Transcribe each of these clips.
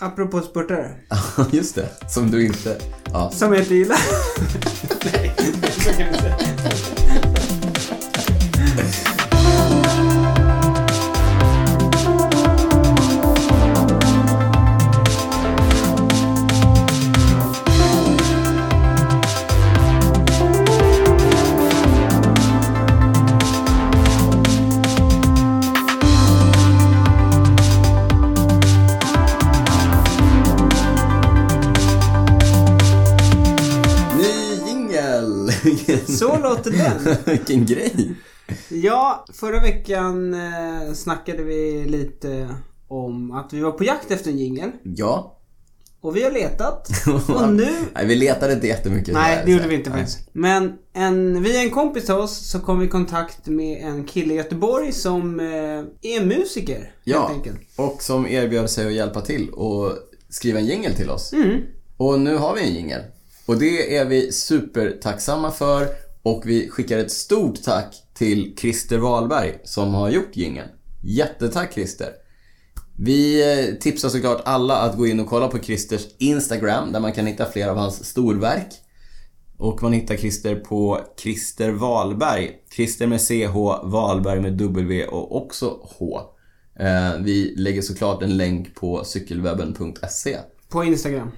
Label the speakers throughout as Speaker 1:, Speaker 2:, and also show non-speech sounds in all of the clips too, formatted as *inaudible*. Speaker 1: Apropå spurtare.
Speaker 2: Ja, *laughs* just det. Som du inte... Ja.
Speaker 1: Som jag inte
Speaker 2: *laughs*
Speaker 1: gillar.
Speaker 2: Ny jingel! *laughs* Vilken-
Speaker 1: Så låter den.
Speaker 2: Vilken grej!
Speaker 1: Ja, förra veckan eh, snackade vi lite om att vi var på jakt efter en jingel.
Speaker 2: Ja.
Speaker 1: Och vi har
Speaker 2: *laughs*
Speaker 1: letat. Och nu
Speaker 2: Nej, vi letade inte jättemycket.
Speaker 1: Nej,
Speaker 2: sådär,
Speaker 1: det gjorde
Speaker 2: sådär.
Speaker 1: vi inte
Speaker 2: Nej.
Speaker 1: faktiskt. Men en, via en kompis till oss så kom vi i kontakt med en kille i Göteborg som eh, är musiker. Helt
Speaker 2: Ja,
Speaker 1: enkelt.
Speaker 2: och som erbjöd sig att hjälpa till och skriva en jingel till oss.
Speaker 1: Mm.
Speaker 2: Och nu har vi en jingel. Och det är vi supertacksamma för. Och vi skickar ett stort tack till Christer Wahlberg som har gjort jingeln. Jättetack Christer! Vi eh, tipsar såklart alla att gå in och kolla på Christers Instagram där man kan hitta fler av hans storverk. Och man hittar Christer på Christer Wahlberg. Christer med CH, Wahlberg med W och också H. Eh, Vi lägger såklart en länk på cykelwebben.se.
Speaker 1: På Instagram.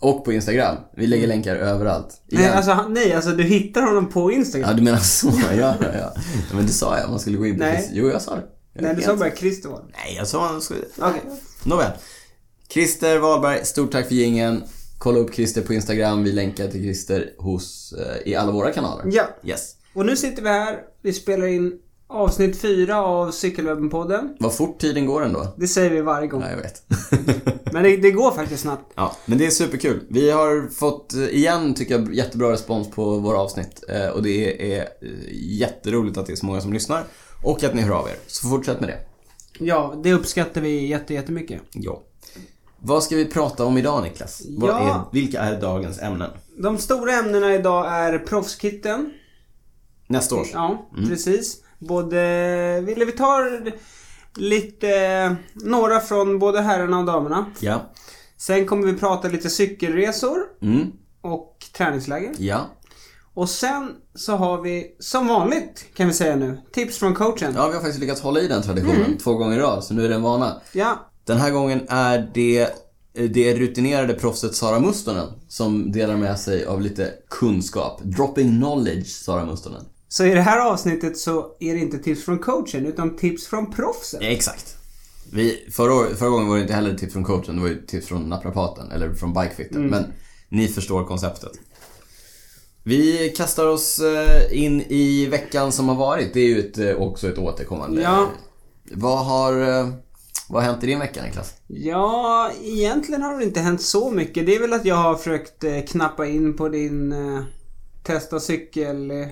Speaker 2: Och på Instagram. Vi lägger länkar överallt.
Speaker 1: Nej
Speaker 2: Igen.
Speaker 1: alltså, han- nej, alltså du hittar honom på Instagram.
Speaker 2: Ja, du menar så? Ja, ja, ja. Ja, Men det sa jag. Man skulle gå in på
Speaker 1: Nej.
Speaker 2: Christer. Jo, jag sa det. Jag
Speaker 1: nej, du
Speaker 2: vet.
Speaker 1: sa bara Christer var det.
Speaker 2: Nej, jag sa... jag skulle-
Speaker 1: Okej.
Speaker 2: Nåväl. Christer Wahlberg, stort tack för gingen. Kolla upp Christer på Instagram. Vi länkar till Christer hos, eh, i alla våra kanaler.
Speaker 1: Ja.
Speaker 2: Yes.
Speaker 1: Och nu sitter vi här. Vi spelar in avsnitt fyra av Cykelwebben-podden.
Speaker 2: Vad fort tiden går ändå.
Speaker 1: Det säger vi varje gång.
Speaker 2: Ja, jag vet.
Speaker 1: Men det, det går faktiskt snabbt.
Speaker 2: *laughs* ja, men det är superkul. Vi har fått, eh, igen, tycker jag, jättebra respons på våra avsnitt. Eh, Och det är eh, jätteroligt att det är så många som lyssnar. Och att ni hör av er. Så fortsätt med det.
Speaker 1: Ja, det uppskattar vi jätte, jättemycket.
Speaker 2: Ja. Vad ska vi prata om idag Niklas? Vad
Speaker 1: Ja.
Speaker 2: är, vilka är dagens ämnen?
Speaker 1: De stora ämnena idag är proffskitten.
Speaker 2: Nästa års?
Speaker 1: Ja, precis. Både... Eller vi tar lite... Några från både herrarna och damerna.
Speaker 2: Ja.
Speaker 1: Sen kommer vi prata lite cykelresor
Speaker 2: Mm.
Speaker 1: och träningsläger.
Speaker 2: Ja.
Speaker 1: Och sen så har vi, som vanligt kan vi säga nu, tips från coachen. Ja.
Speaker 2: Ja, vi har faktiskt lyckats hålla i den traditionen
Speaker 1: Mm.
Speaker 2: två gånger i rad, så nu är det en vana.
Speaker 1: ja.
Speaker 2: Den här gången är det eh, det rutinerade proffset Sara Mustonen som delar med sig av lite kunskap. Dropping knowledge, Sara Mustonen.
Speaker 1: Så i det här avsnittet så är det inte tips från coachen utan tips från proffsen.
Speaker 2: Exakt. Vi, förra, år- förra gången var det inte heller tips från coachen, det var ju tips från naprapaten eller från bikefitter.
Speaker 1: Mm.
Speaker 2: Men ni förstår konceptet. Vi kastar oss eh, in i veckan som har varit. Det är ju ett, eh, också ett återkommande.
Speaker 1: Ja.
Speaker 2: Vad har, eh, vad har hänt i din vecka Niklas?
Speaker 1: Ja, egentligen har det inte hänt så mycket. Det är väl att jag har försökt eh, knappa in på din eh, testa cykel... eh,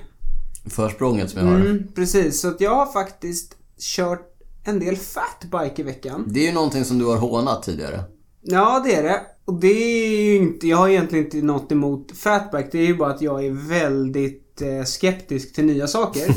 Speaker 2: Försprånget som jag har.
Speaker 1: Mm, precis. Så att jag har faktiskt kört en del fatbike i veckan.
Speaker 2: Det är ju någonting som du har hånat tidigare.
Speaker 1: Ja, det är det. Och det är ju inte... Jag har egentligen inte något emot fatbike. Det är ju bara att jag är väldigt eh, skeptisk till nya saker.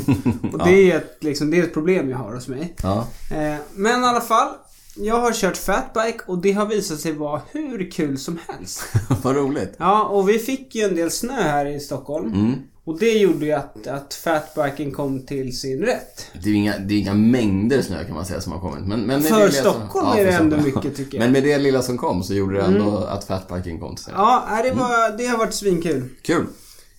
Speaker 1: Och det är, ett, liksom, det är ett problem jag har hos mig.
Speaker 2: Ja. *laughs*
Speaker 1: Eh, men i alla fall. Jag har kört fatbike och det har visat sig vara hur kul som
Speaker 2: *laughs*
Speaker 1: helst.
Speaker 2: vad roligt.
Speaker 1: Ja, och vi fick ju en del snö här i Stockholm.
Speaker 2: Mm.
Speaker 1: Och det gjorde ju att, att fatbiken kom till sin rätt.
Speaker 2: Det är ju inga, det är inga mängder snö kan man säga som har kommit. Men, men med
Speaker 1: För
Speaker 2: det lilla
Speaker 1: Stockholm är
Speaker 2: för
Speaker 1: det ändå
Speaker 2: Stockholm.
Speaker 1: mycket, tycker jag. Mm.
Speaker 2: Men med det lilla som kom så gjorde det ändå att fatbiking kom till sig.
Speaker 1: Ja, nej, det,
Speaker 2: Mm.
Speaker 1: var, det har varit svinkul.
Speaker 2: Kul!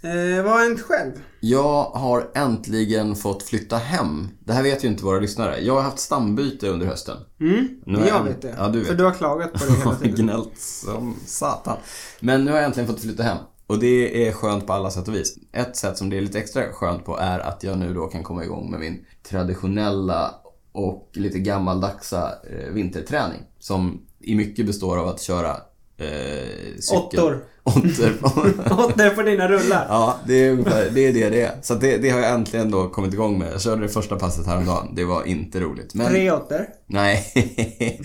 Speaker 1: Eh, vad har hänt själv?
Speaker 2: Jag har äntligen fått flytta hem. Det här vet ju inte våra lyssnare. Jag har haft stambyte under hösten.
Speaker 1: Mm,
Speaker 2: Nu har
Speaker 1: jag
Speaker 2: jag-
Speaker 1: vet det.
Speaker 2: Ja, du vet.
Speaker 1: För du har klagat på det
Speaker 2: *laughs*
Speaker 1: hela
Speaker 2: Jag har
Speaker 1: tiden.
Speaker 2: gnällt som satan. Men nu har jag äntligen fått flytta hem. Och det är skönt på alla sätt och vis. Ett sätt som det är lite extra skönt på är att jag nu då kan komma igång med min traditionella och lite gammaldagsa eh, vinterträning. Som i mycket består av att köra eh, cykel.
Speaker 1: Åttor.
Speaker 2: *laughs* Åttor.
Speaker 1: Åter på dina rullar.
Speaker 2: *laughs* Ja, det är, ungefär, det är det det är. Så att det, det har jag äntligen då kommit igång med. Jag körde det första passet häromdagen. Det var inte roligt. Men,
Speaker 1: Tre åttor.
Speaker 2: nej.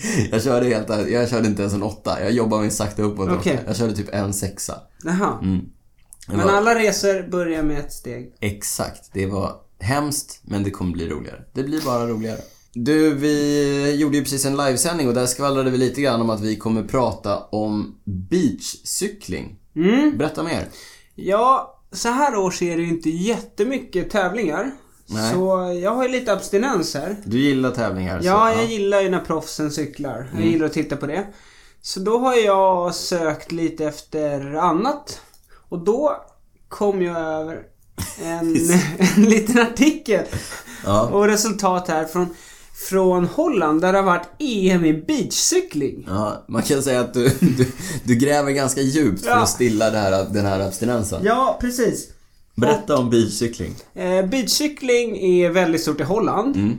Speaker 2: *laughs* Jag körde, helt, jag körde inte ens en åtta. Jag jobbade mig sakta uppåt.
Speaker 1: Okej.
Speaker 2: Jag körde typ en sexa.
Speaker 1: Jaha.
Speaker 2: Mm. Det
Speaker 1: Men
Speaker 2: var,
Speaker 1: alla resor börjar med ett steg.
Speaker 2: exakt. Det var hemskt, men det kommer bli roligare. Det blir bara roligare. Du, vi gjorde ju precis en livesändning och där skvallrade vi lite grann om att vi kommer prata om beachcykling.
Speaker 1: Mm.
Speaker 2: Berätta mer.
Speaker 1: Ja, så här års är det ju inte jättemycket tävlingar.
Speaker 2: Nej. Alltså,
Speaker 1: Så jag har ju lite abstinens här.
Speaker 2: Du gillar tävlingar?
Speaker 1: Ja,
Speaker 2: så,
Speaker 1: jag gillar ju när proffsen cyklar. Jag
Speaker 2: Mm.
Speaker 1: gillar att titta på det. Så då har jag sökt lite efter annat. Och då kom jag över en,
Speaker 2: *laughs*
Speaker 1: *laughs* en liten artikel.
Speaker 2: Ja.
Speaker 1: Och resultat här från, från Holland där det har varit EM i beachcykling.
Speaker 2: Ja, man kan säga att du, du, du gräver ganska djupt för
Speaker 1: Ja.
Speaker 2: att stilla det här, den här abstinensen.
Speaker 1: Ja, precis.
Speaker 2: Berätta om bilcykling.
Speaker 1: Eh, beachcykling är väldigt stort i Holland.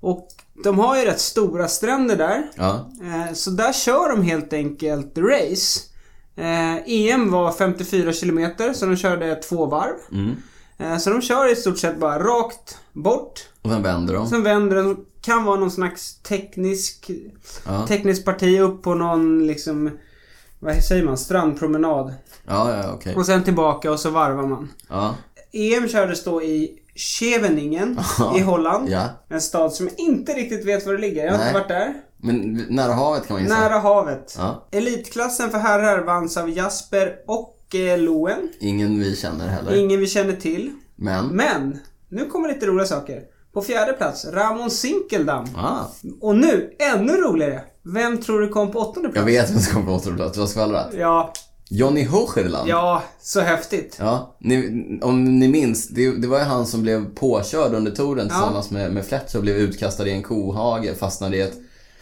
Speaker 1: Och de har ju rätt stora stränder där.
Speaker 2: Ja.
Speaker 1: Eh, Så där kör de helt enkelt race. Eh, EM var 54 kilometer så de körde två varv. Eh, Så de kör i stort sett bara rakt bort.
Speaker 2: Och sen vänder de.
Speaker 1: Sen vänder den, kan vara någon slags teknisk,
Speaker 2: Ja.
Speaker 1: teknisk parti upp på någon liksom, vad säger man, strandpromenad.
Speaker 2: Ja, ja, okej.
Speaker 1: Och sen tillbaka och så varvar man.
Speaker 2: Ja.
Speaker 1: EM E kördes då i Scheveningen
Speaker 2: *laughs* Ja.
Speaker 1: i Holland.
Speaker 2: Ja.
Speaker 1: En stad som jag inte riktigt vet var det ligger. Jag har
Speaker 2: Nej.
Speaker 1: inte varit där.
Speaker 2: Men nära havet kan man gissa.
Speaker 1: Nära havet.
Speaker 2: Ja.
Speaker 1: Elitklassen för herrar vanns av Jasper och eh, Loen.
Speaker 2: Ingen vi känner heller.
Speaker 1: Ingen vi känner till.
Speaker 2: Men.
Speaker 1: Men, nu kommer lite roliga saker. På fjärde plats, Ramon Sinkeldam.
Speaker 2: Ah,
Speaker 1: Och nu, ännu roligare. Vem tror du kom på åttonde
Speaker 2: jag
Speaker 1: plats?
Speaker 2: vet vem som kom på åttonde plats. Du har skvallrat.
Speaker 1: Ja,
Speaker 2: Johnny Hocherland.
Speaker 1: ja, så häftigt.
Speaker 2: Ja, ni, om ni minns, det, det var ju han som blev påkörd under touren
Speaker 1: Ja.
Speaker 2: tillsammans med, med Fletcher och blev utkastad i en kohage, fastnade i ett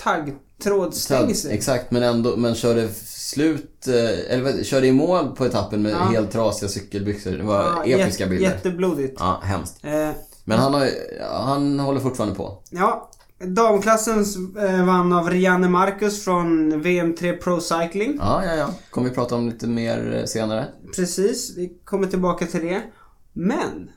Speaker 1: Taggtrådsstängsel.
Speaker 2: Exakt, men ändå, men körde f- slut, eh, eller vad- körde i mål på etappen med helt trasiga cykelbyxor. Det var
Speaker 1: Ja,
Speaker 2: episka
Speaker 1: jätte-
Speaker 2: bilder.
Speaker 1: Jätteblodigt.
Speaker 2: Ja, hemskt.
Speaker 1: Eh,
Speaker 2: Men han, har, ju- ja, han håller fortfarande på.
Speaker 1: ja, damklassen eh, vann av Rianne Marcus från VM3 Pro Cycling.
Speaker 2: Ja, ja, ja. Kommer vi prata om lite mer eh, senare.
Speaker 1: Precis, vi kommer tillbaka till det. Men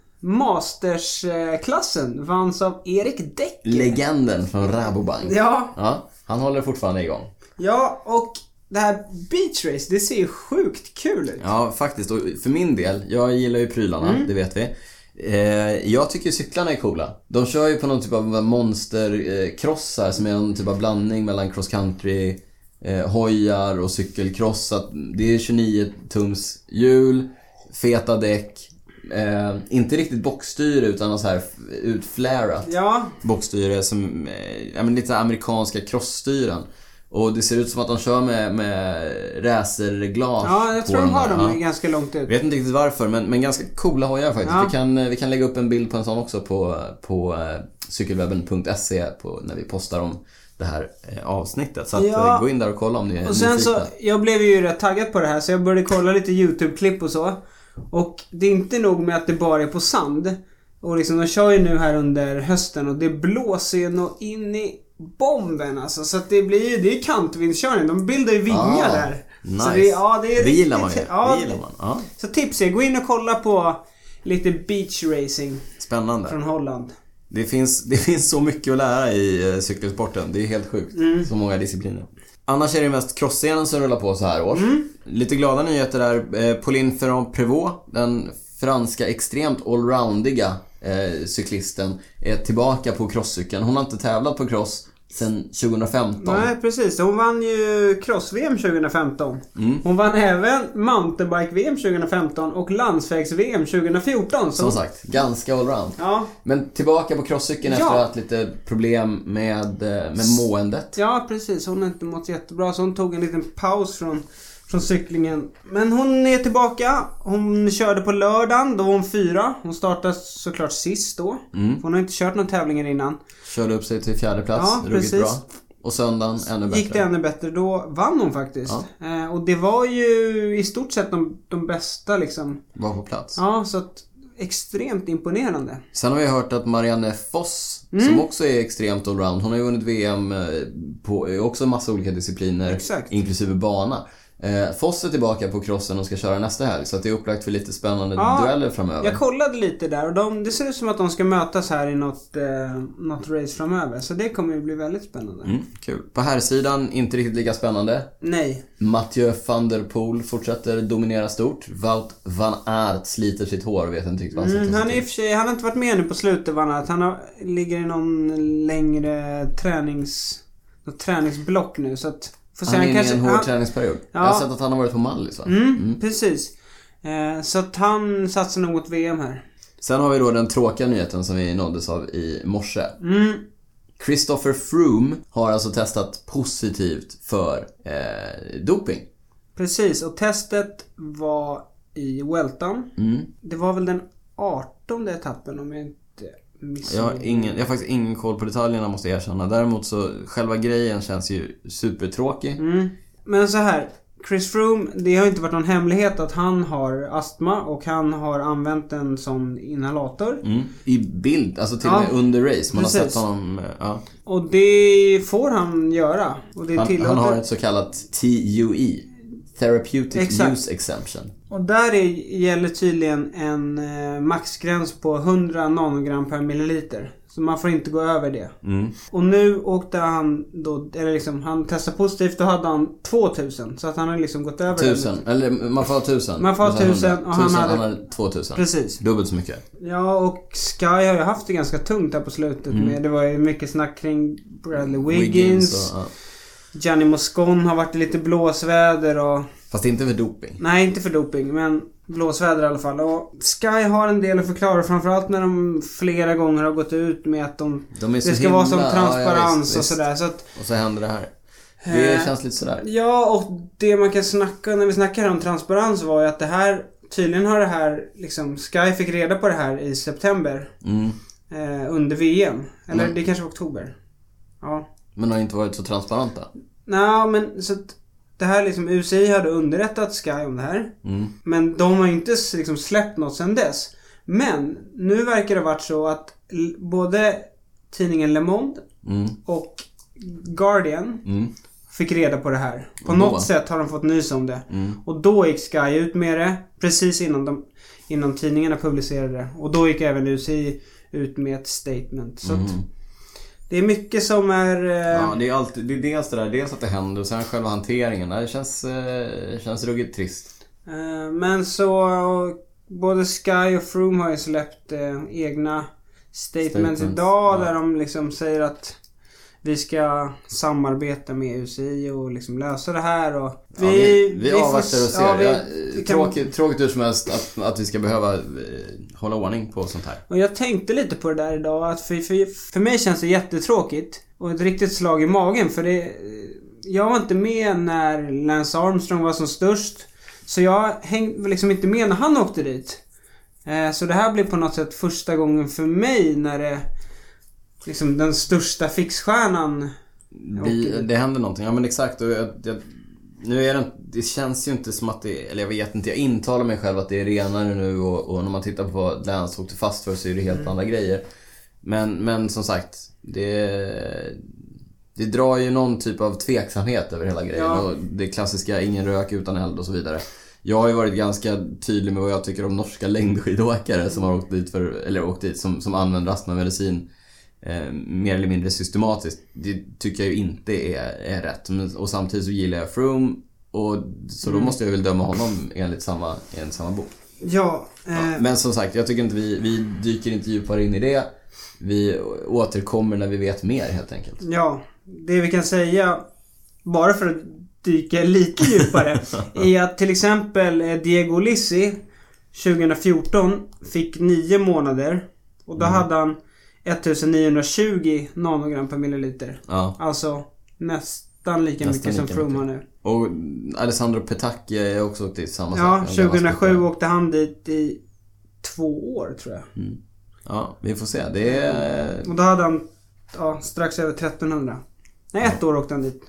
Speaker 1: Masters-klassen vanns av Erik Däck.
Speaker 2: Legenden från Rabobank.
Speaker 1: Ja,
Speaker 2: Ja, han håller fortfarande igång.
Speaker 1: ja och det här Beach Race, det ser ju sjukt kul ut.
Speaker 2: Ja, faktiskt. Och för min del, jag gillar ju prylarna, det vet vi. Eh, jag tycker cyklarna är coola. De kör ju på någon typ av monsterkrossar som är någon typ av blandning mellan cross country, eh, hojar och cykelkross. Så att det är 29 tums hjul, feta däck. Eh, inte riktigt bockstyre utan något så här f- utflärat
Speaker 1: Ja,
Speaker 2: bockstyre som, eh, ja men lite amerikanska crossstyren. Och det ser ut som att de kör med, med racerglas
Speaker 1: ja jag
Speaker 2: på
Speaker 1: tror de
Speaker 2: den
Speaker 1: har
Speaker 2: där.
Speaker 1: dem
Speaker 2: Ja.
Speaker 1: ganska långt ut.
Speaker 2: Jag vet inte riktigt varför, men, men ganska coola hojar faktiskt.
Speaker 1: Ja.
Speaker 2: Vi, kan, eh, vi kan lägga upp en bild på en sån också på, på eh, cykelwebben.se på, när vi postar om det här eh, avsnittet. Så att,
Speaker 1: Ja.
Speaker 2: eh, gå in där och kolla om ni är
Speaker 1: Och sen
Speaker 2: nyfikna.
Speaker 1: så, jag blev ju rätt taggad på det här så jag började kolla lite YouTube-klipp och så. Och det är inte nog med att det bara är på sand. Och liksom de kör ju nu här under hösten och det blåser ju nå in i bomben alltså. Så att det blir ju, det är kantvindskörning. De bildar ju vingar
Speaker 2: Ah,
Speaker 1: där.
Speaker 2: Nice.
Speaker 1: Så det, ja, det, är
Speaker 2: gillar man ju.
Speaker 1: riktigt- Ja,
Speaker 2: det gillar man. Ja.
Speaker 1: Så tips är, gå in och kolla på lite beach racing
Speaker 2: Spännande.
Speaker 1: från Holland.
Speaker 2: Det finns, *laughs* det finns så mycket att lära i eh, cykelsporten. Det är helt sjukt.
Speaker 1: Mm.
Speaker 2: Så många discipliner. Annars är det mest crossscenen som rullar på så här års.
Speaker 1: Mm.
Speaker 2: Lite glada nyheter där. Eh, Pauline Ferrand-Prévot, den franska extremt allroundiga eh, cyklisten, är tillbaka på crosscykeln. Hon har inte tävlat på cross sedan 2015.
Speaker 1: Nej, precis. Hon vann ju cross-VM 2015. Hon vann även mountainbike-VM 2015 och landsvägs-VM 2014. Så...
Speaker 2: Som sagt, ganska allround.
Speaker 1: Ja,
Speaker 2: Men tillbaka på crosscykeln efter
Speaker 1: Ja.
Speaker 2: att ha haft lite problem med, eh, med måendet.
Speaker 1: ja, precis. Hon har inte mått jättebra så hon tog en liten paus från, från cyklingen. Men hon är tillbaka. Hon körde på lördagen. Då var hon fyra. Hon startade såklart sist då. För Hon har inte kört några tävlingar innan.
Speaker 2: Körde upp sig till fjärde plats,
Speaker 1: Ja,
Speaker 2: ruggigt
Speaker 1: precis.
Speaker 2: bra. Och söndagen ännu bättre.
Speaker 1: Gick det ännu bättre. Då vann hon faktiskt. Eh, och det var ju i stort sett de, de bästa liksom.
Speaker 2: Var på plats.
Speaker 1: Ja, så att extremt imponerande.
Speaker 2: Sen har vi hört att Marianne Foss, som
Speaker 1: Mm.
Speaker 2: också är extremt allround, hon har ju vunnit VM eh, på eh, också massa olika discipliner.
Speaker 1: Exakt.
Speaker 2: Inklusive bana. Eh, Foss är tillbaka på crossen och ska köra nästa helg, så att det är upplagt för lite spännande
Speaker 1: Ja,
Speaker 2: dueller framöver.
Speaker 1: Jag kollade lite där och de, det ser ut som att de ska mötas här i något, eh, något race framöver. Så det kommer ju bli väldigt spännande.
Speaker 2: Mm, kul. På här sidan inte riktigt lika spännande.
Speaker 1: Nej.
Speaker 2: Mathieu van der Poel fortsätter dominera stort. Wout van Aert sliter sitt hår och vet inte riktigt vad han ska
Speaker 1: Mm,
Speaker 2: ta sig
Speaker 1: han, är i och
Speaker 2: till.
Speaker 1: för sig, han har inte varit med nu på slutet va? Nat? Han har, ligger i någon längre tränings... Något träningsblock nu så att... Får se,
Speaker 2: Han är inne
Speaker 1: kanske-
Speaker 2: i en hård
Speaker 1: han-
Speaker 2: träningsperiod.
Speaker 1: Ja.
Speaker 2: Jag har sett att han har varit på Mallis va?
Speaker 1: Mm, precis. Eh, så att han satsar nog mot VM här.
Speaker 2: Sen har vi då den tråkiga nyheten som vi nåddes av i morse.
Speaker 1: Mm,
Speaker 2: Christopher Froome har alltså testat positivt för eh, doping.
Speaker 1: precis. Och testet var i Welton.
Speaker 2: Mm.
Speaker 1: Det var väl den 18 etappen om jag inte
Speaker 2: Jag
Speaker 1: missar
Speaker 2: har, ingen, jag har faktiskt ingen koll på detaljerna måste jag erkänna. Däremot så, själva grejen känns ju supertråkig.
Speaker 1: Mm. Men så här. Chris Froome, det har inte varit någon hemlighet att han har astma och han har använt en sån inhalator.
Speaker 2: Mm. I bild, alltså till och
Speaker 1: Ja,
Speaker 2: med under race. Man har
Speaker 1: precis.
Speaker 2: sett honom... eh, Ja.
Speaker 1: Och det får han göra. Och det är
Speaker 2: Han,
Speaker 1: tillåtet.
Speaker 2: han har ett så kallat TUE. Therapeutic
Speaker 1: Exakt.
Speaker 2: Use Exemption.
Speaker 1: Och där är, gäller tydligen en eh, maxgräns på 100 nanogram per milliliter. Så man får inte gå över det.
Speaker 2: Mm.
Speaker 1: Och nu åkte han då, eller liksom, han testade positivt. Då hade han 2000. Så att han har liksom gått över den.
Speaker 2: Tusen, eller man får ha tusen.
Speaker 1: Man får ha
Speaker 2: Och sen hundra.
Speaker 1: tusen och han
Speaker 2: Tusen,
Speaker 1: hade-
Speaker 2: han hade två tusen.
Speaker 1: Precis.
Speaker 2: Dubbelt så mycket.
Speaker 1: Ja, och Sky har ju haft det ganska tungt här på slutet
Speaker 2: Mm.
Speaker 1: med. Det var ju mycket snack kring Bradley Wiggins.
Speaker 2: och, ja.
Speaker 1: Gianni Moscon har varit i lite blåsväder och...
Speaker 2: Fast inte för doping.
Speaker 1: Nej, inte för doping, men blåsväder i alla fall. Och Sky har en del att förklara, framförallt när de flera gånger har gått ut med att de...
Speaker 2: De är
Speaker 1: Det
Speaker 2: så
Speaker 1: ska
Speaker 2: himla,
Speaker 1: vara som
Speaker 2: ja, ja,
Speaker 1: transparens
Speaker 2: visst,
Speaker 1: och
Speaker 2: visst.
Speaker 1: sådär. Så att,
Speaker 2: Och så händer det här. Det
Speaker 1: Eh.
Speaker 2: känns lite sådär.
Speaker 1: ja, och det man kan snacka när vi snackar om transparens var ju att det här... Tydligen har det här, liksom, Sky fick reda på det här i september.
Speaker 2: Mm.
Speaker 1: Eh, under VM. Eller
Speaker 2: Mm.
Speaker 1: det kanske var oktober. Ja.
Speaker 2: Men har inte varit så transparenta.
Speaker 1: Nja, men så att det här liksom UCI hade underrättat Sky om det här.
Speaker 2: Mm.
Speaker 1: Men de har inte s- liksom släppt något sedan dess. Men nu verkar det ha varit så att l- både tidningen Le Monde
Speaker 2: Mm.
Speaker 1: och Guardian
Speaker 2: Mm.
Speaker 1: fick reda på det här. På
Speaker 2: Då?
Speaker 1: något sätt har de fått nys om det.
Speaker 2: Mm.
Speaker 1: Och då gick Sky ut med det precis innan, de, innan tidningarna publicerade det. Och då gick även UCI ut med ett statement. Så att
Speaker 2: Mm.
Speaker 1: Det är mycket som är... Eh,
Speaker 2: Ja, det är, alltid, det är dels det där, dels att det händer och sen själva hanteringen. Det här känns, eh, känns ruggigt trist.
Speaker 1: eh, men så... och Både Sky och Froome har ju släppt eh, egna statements,
Speaker 2: Statements,
Speaker 1: idag
Speaker 2: ja.
Speaker 1: där de liksom säger att vi ska samarbeta med UCI och liksom lösa det här och...
Speaker 2: Ja, vi, vi,
Speaker 1: får
Speaker 2: avvaktar och
Speaker 1: s-
Speaker 2: ser.
Speaker 1: ja, vi-
Speaker 2: Jag-
Speaker 1: vi kan-
Speaker 2: tråkigt, tråkigt hur som helst att, att vi ska behöva eh, hålla ordning på sånt här.
Speaker 1: Och jag tänkte lite på det där idag att för, för, för mig känns det jättetråkigt. Och ett riktigt slag i magen för det... Jag var inte med när Lance Armstrong var som störst. Så jag hängde liksom inte med när han åkte dit. Eh, Så det här blir på något sätt första gången för mig när det... Liksom den största fixstjärnan.
Speaker 2: Vi, det händer någonting. Ja men exakt. Och jag, jag, nu är det, det känns ju inte som att det Eller jag vet inte. Jag intalar mig själv att det är renare nu och, och när man tittar på vad Lance åkte fast för så är det helt andra grejer. Men, men som sagt. Det, det drar ju någon typ av tveksamhet över hela grejen.
Speaker 1: Ja.
Speaker 2: Och det klassiska ingen rök utan eld och så vidare. Jag har ju varit ganska tydlig med vad jag tycker om norska längdskidåkare som har åkt dit för, eller åkt dit, som, som använder astmamedicin eh, mer eller mindre systematiskt. Det tycker jag ju inte är, är rätt. Men, och samtidigt så gillar jag Froome. Och, så då måste jag väl döma honom enligt samma, enligt samma bok.
Speaker 1: Ja.
Speaker 2: Ja,
Speaker 1: Eh,
Speaker 2: men som sagt, jag tycker inte vi, vi dyker inte djupare in i det. Vi återkommer när vi vet mer helt enkelt.
Speaker 1: Ja, det vi kan säga, bara för att dyka lite djupare, *laughs* är att till exempel eh, Diego Lissi 2014 fick 9 månader och då hade han 1920 nanogram per milliliter.
Speaker 2: Ja.
Speaker 1: Alltså nästan lika
Speaker 2: Nästan
Speaker 1: mycket som
Speaker 2: lika
Speaker 1: Froome har nu.
Speaker 2: Och Alessandro Petacchi har också åkt dit samma
Speaker 1: Ja,
Speaker 2: sak. En gammal
Speaker 1: 2007
Speaker 2: skotare.
Speaker 1: åkte han dit i två år tror jag.
Speaker 2: Ja, vi får se. Det är...
Speaker 1: Och då hade han ja, strax över 1300. Nej, ett år åkte han dit.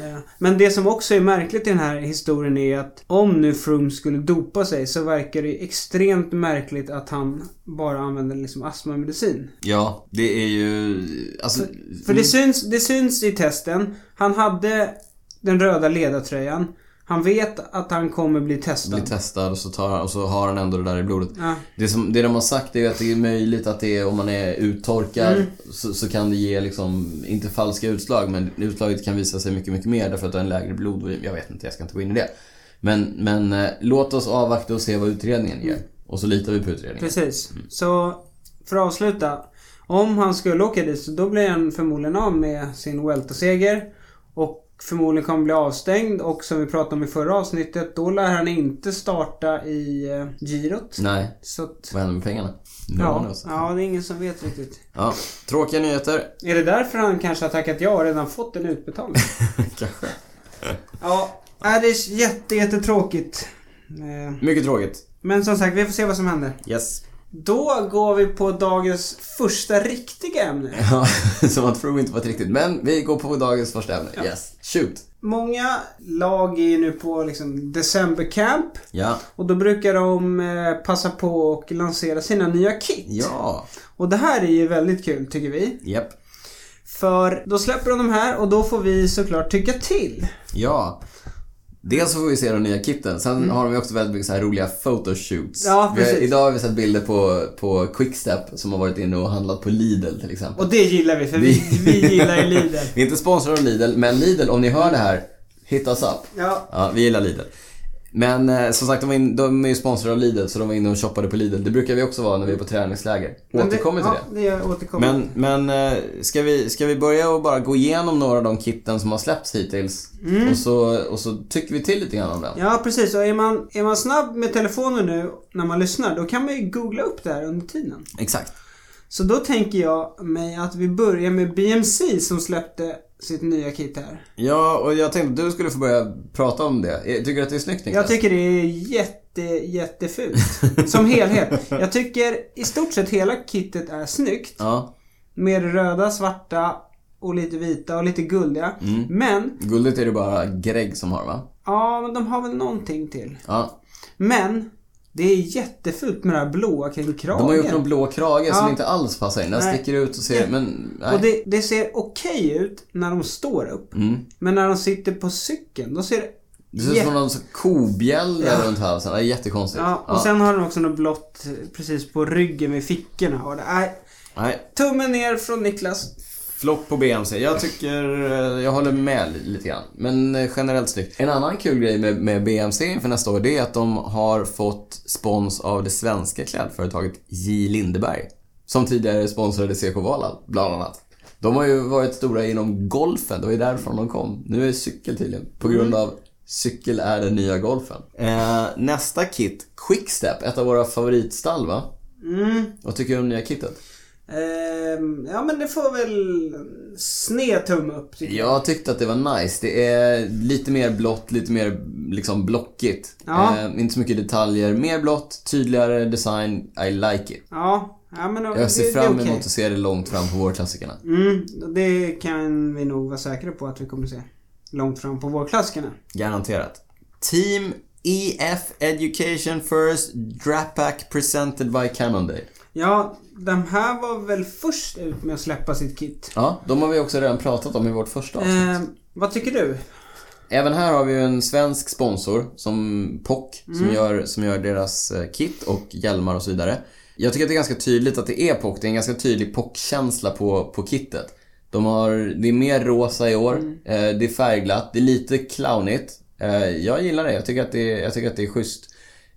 Speaker 1: Eh, Men det som också är märkligt i den här historien är att om nu Froome skulle dopa sig så verkar det extremt märkligt att han bara använder liksom astmamedicin.
Speaker 2: Ja, det är ju... Alltså...
Speaker 1: För det syns, det syns i testen. Han hade den röda ledartröjan. Han vet att han kommer bli testad.
Speaker 2: Blir testad och så, tar han, och så har han ändå det där i blodet.
Speaker 1: Ja.
Speaker 2: Det, som, det de har sagt är ju att det är möjligt att det är, om man är uttorkad
Speaker 1: Mm.
Speaker 2: så, så kan det ge liksom, inte falska utslag men utslaget kan visa sig mycket, mycket mer därför att du har en lägre blodvolym. Jag vet inte, jag ska inte gå in i det. Men, men eh, låt oss avvakta och se vad utredningen ger. Och så litar vi på utredningen.
Speaker 1: Mm. Precis. Så för att avsluta. Om han skulle åka dit så då blir han förmodligen av med sin Welta-seger. Och förmodligen kommer bli avstängd och som vi pratade om i förra avsnittet då lär han inte starta i eh, girot.
Speaker 2: Nej,
Speaker 1: Så att,
Speaker 2: vad händer med pengarna? No one
Speaker 1: ja,
Speaker 2: knows.
Speaker 1: ja, det är ingen som vet riktigt.
Speaker 2: ja. Tråkiga nyheter. *laughs*
Speaker 1: Är det därför han kanske har tackat ja och redan fått en utbetalning?
Speaker 2: Kanske.
Speaker 1: ja, nej, det är jätte, jättetråkigt. Eh,
Speaker 2: Mycket tråkigt.
Speaker 1: Men som sagt, vi får se vad som händer.
Speaker 2: Yes.
Speaker 1: Då går vi på dagens första riktiga ämne.
Speaker 2: Ja, *laughs* som man tror inte var ett riktigt. Men vi går på dagens första ämne. Yes. Shoot.
Speaker 1: Många lag är ju nu på liksom decembercamp
Speaker 2: Ja.
Speaker 1: och då brukar de eh, passa på och lansera sina nya kit.
Speaker 2: Ja.
Speaker 1: Och det här är ju väldigt kul tycker vi.
Speaker 2: Japp.
Speaker 1: För då släpper de de här och då får vi såklart tycka till.
Speaker 2: Ja. Dels så får vi se de nya kitten. Sen har de ju också väldigt mycket så här roliga photoshoots.
Speaker 1: Ja,
Speaker 2: vi har,
Speaker 1: precis.
Speaker 2: idag har vi sett bilder på, på Quickstep som har varit inne och handlat på Lidl till exempel.
Speaker 1: Och det gillar vi för
Speaker 2: *laughs*
Speaker 1: vi, vi gillar ju Lidl.
Speaker 2: vi är inte sponsrade av Lidl, men Lidl, om ni hör det här, hit us up.
Speaker 1: Ja,
Speaker 2: Ja, vi gillar Lidl. Men eh, som sagt, de, var in, de är ju sponsrade av Lidl så de var inne och shoppade på Lidl. Det brukar vi också vara när vi är på träningsläger.
Speaker 1: men
Speaker 2: Återkommer till
Speaker 1: ja,
Speaker 2: det.
Speaker 1: det. gör jag återkommer.
Speaker 2: Men, men eh, ska, vi, ska vi börja och bara gå igenom några av de kitten som har släppts hittills? Och, så, och så tycker vi till lite grann om den.
Speaker 1: Mm. Ja precis, och är man, är man snabb med telefonen nu när man lyssnar då kan man ju googla upp det här under tiden.
Speaker 2: Exakt.
Speaker 1: Så då tänker jag mig att vi börjar med BMC som släppte sitt nya kit här.
Speaker 2: Ja, och jag tänkte att du skulle få börja prata om det. Eh, Tycker du att det är snyggt Niklas?
Speaker 1: Jag tycker det är jätte, jättefult. Som helhet. Jag tycker i stort sett hela kittet är snyggt.
Speaker 2: Ja.
Speaker 1: Med röda, svarta och lite vita och lite guldiga.
Speaker 2: Mm.
Speaker 1: Men,
Speaker 2: Guldet är det bara Greg som har va?
Speaker 1: ja men de har väl någonting till.
Speaker 2: Ja.
Speaker 1: Men, det är jättefult med det här blåa kring kragen.
Speaker 2: De har gjort någon blå krage som
Speaker 1: Ja.
Speaker 2: inte alls passar in. Den
Speaker 1: Nej.
Speaker 2: sticker ut och ser... Men, nej.
Speaker 1: Och det, det ser okej ut när de står upp.
Speaker 2: Mm.
Speaker 1: Men när de sitter på cykeln, då ser det...
Speaker 2: Det ser ut som någon sån kobjälle runt halsen. Det är jättekonstigt.
Speaker 1: Ja, och sen har den också något blått eh, precis på ryggen vid fickorna. Och det är...
Speaker 2: Nej.
Speaker 1: Tummen ner från Niklas.
Speaker 2: Flopp på BMC. Jag tycker... eh, Jag håller med li- lite grann. Men eh, generellt snyggt. En annan kul grej med, med BMC inför nästa år, det är att de har fått spons av det svenska klädföretaget J. Lindeberg. Som tidigare sponsrade CK Valhall, bland annat. De har ju varit stora inom golfen. Det var ju därifrån de kom. Nu är det cykel tydligen. På
Speaker 1: Mm.
Speaker 2: grund av cykel är den nya golfen. Eh, nästa kit, Quickstep. Ett av våra favoritstall, va?
Speaker 1: Mm.
Speaker 2: Vad tycker du om nya kittet?
Speaker 1: Ehm, ja men det får väl sned tumme upp tycker jag.
Speaker 2: Jag tyckte att det var nice. Det är lite mer blått, lite mer liksom blockigt.
Speaker 1: Ja.
Speaker 2: Eh, inte så mycket detaljer. Mer blått, tydligare design. I like it.
Speaker 1: Ja, ja men det,
Speaker 2: Jag ser
Speaker 1: det,
Speaker 2: fram
Speaker 1: det är
Speaker 2: emot
Speaker 1: okej.
Speaker 2: att se det långt fram på vårklassikerna.
Speaker 1: Mm, det kan vi nog vara säkra på att vi kommer se. Långt fram på vårklassikerna.
Speaker 2: Garanterat. Team EF Education First Drapack presented by Cannondale.
Speaker 1: Ja, de här var väl först ut med att släppa sitt kit.
Speaker 2: Ja, de har vi också redan pratat om i vårt första avsnitt.
Speaker 1: Ehm, vad tycker du?
Speaker 2: Även här har vi ju en svensk sponsor som POC som, gör, som gör deras eh, kit och hjälmar och så vidare. Jag tycker att det är ganska tydligt att det är POC. Det är en ganska tydlig POC-känsla på, på kittet. De har, det är mer rosa i år. Eh, det är färgglatt. Det är lite clownigt. Eh, jag gillar det. Jag tycker att det, är- jag tycker att det är schysst.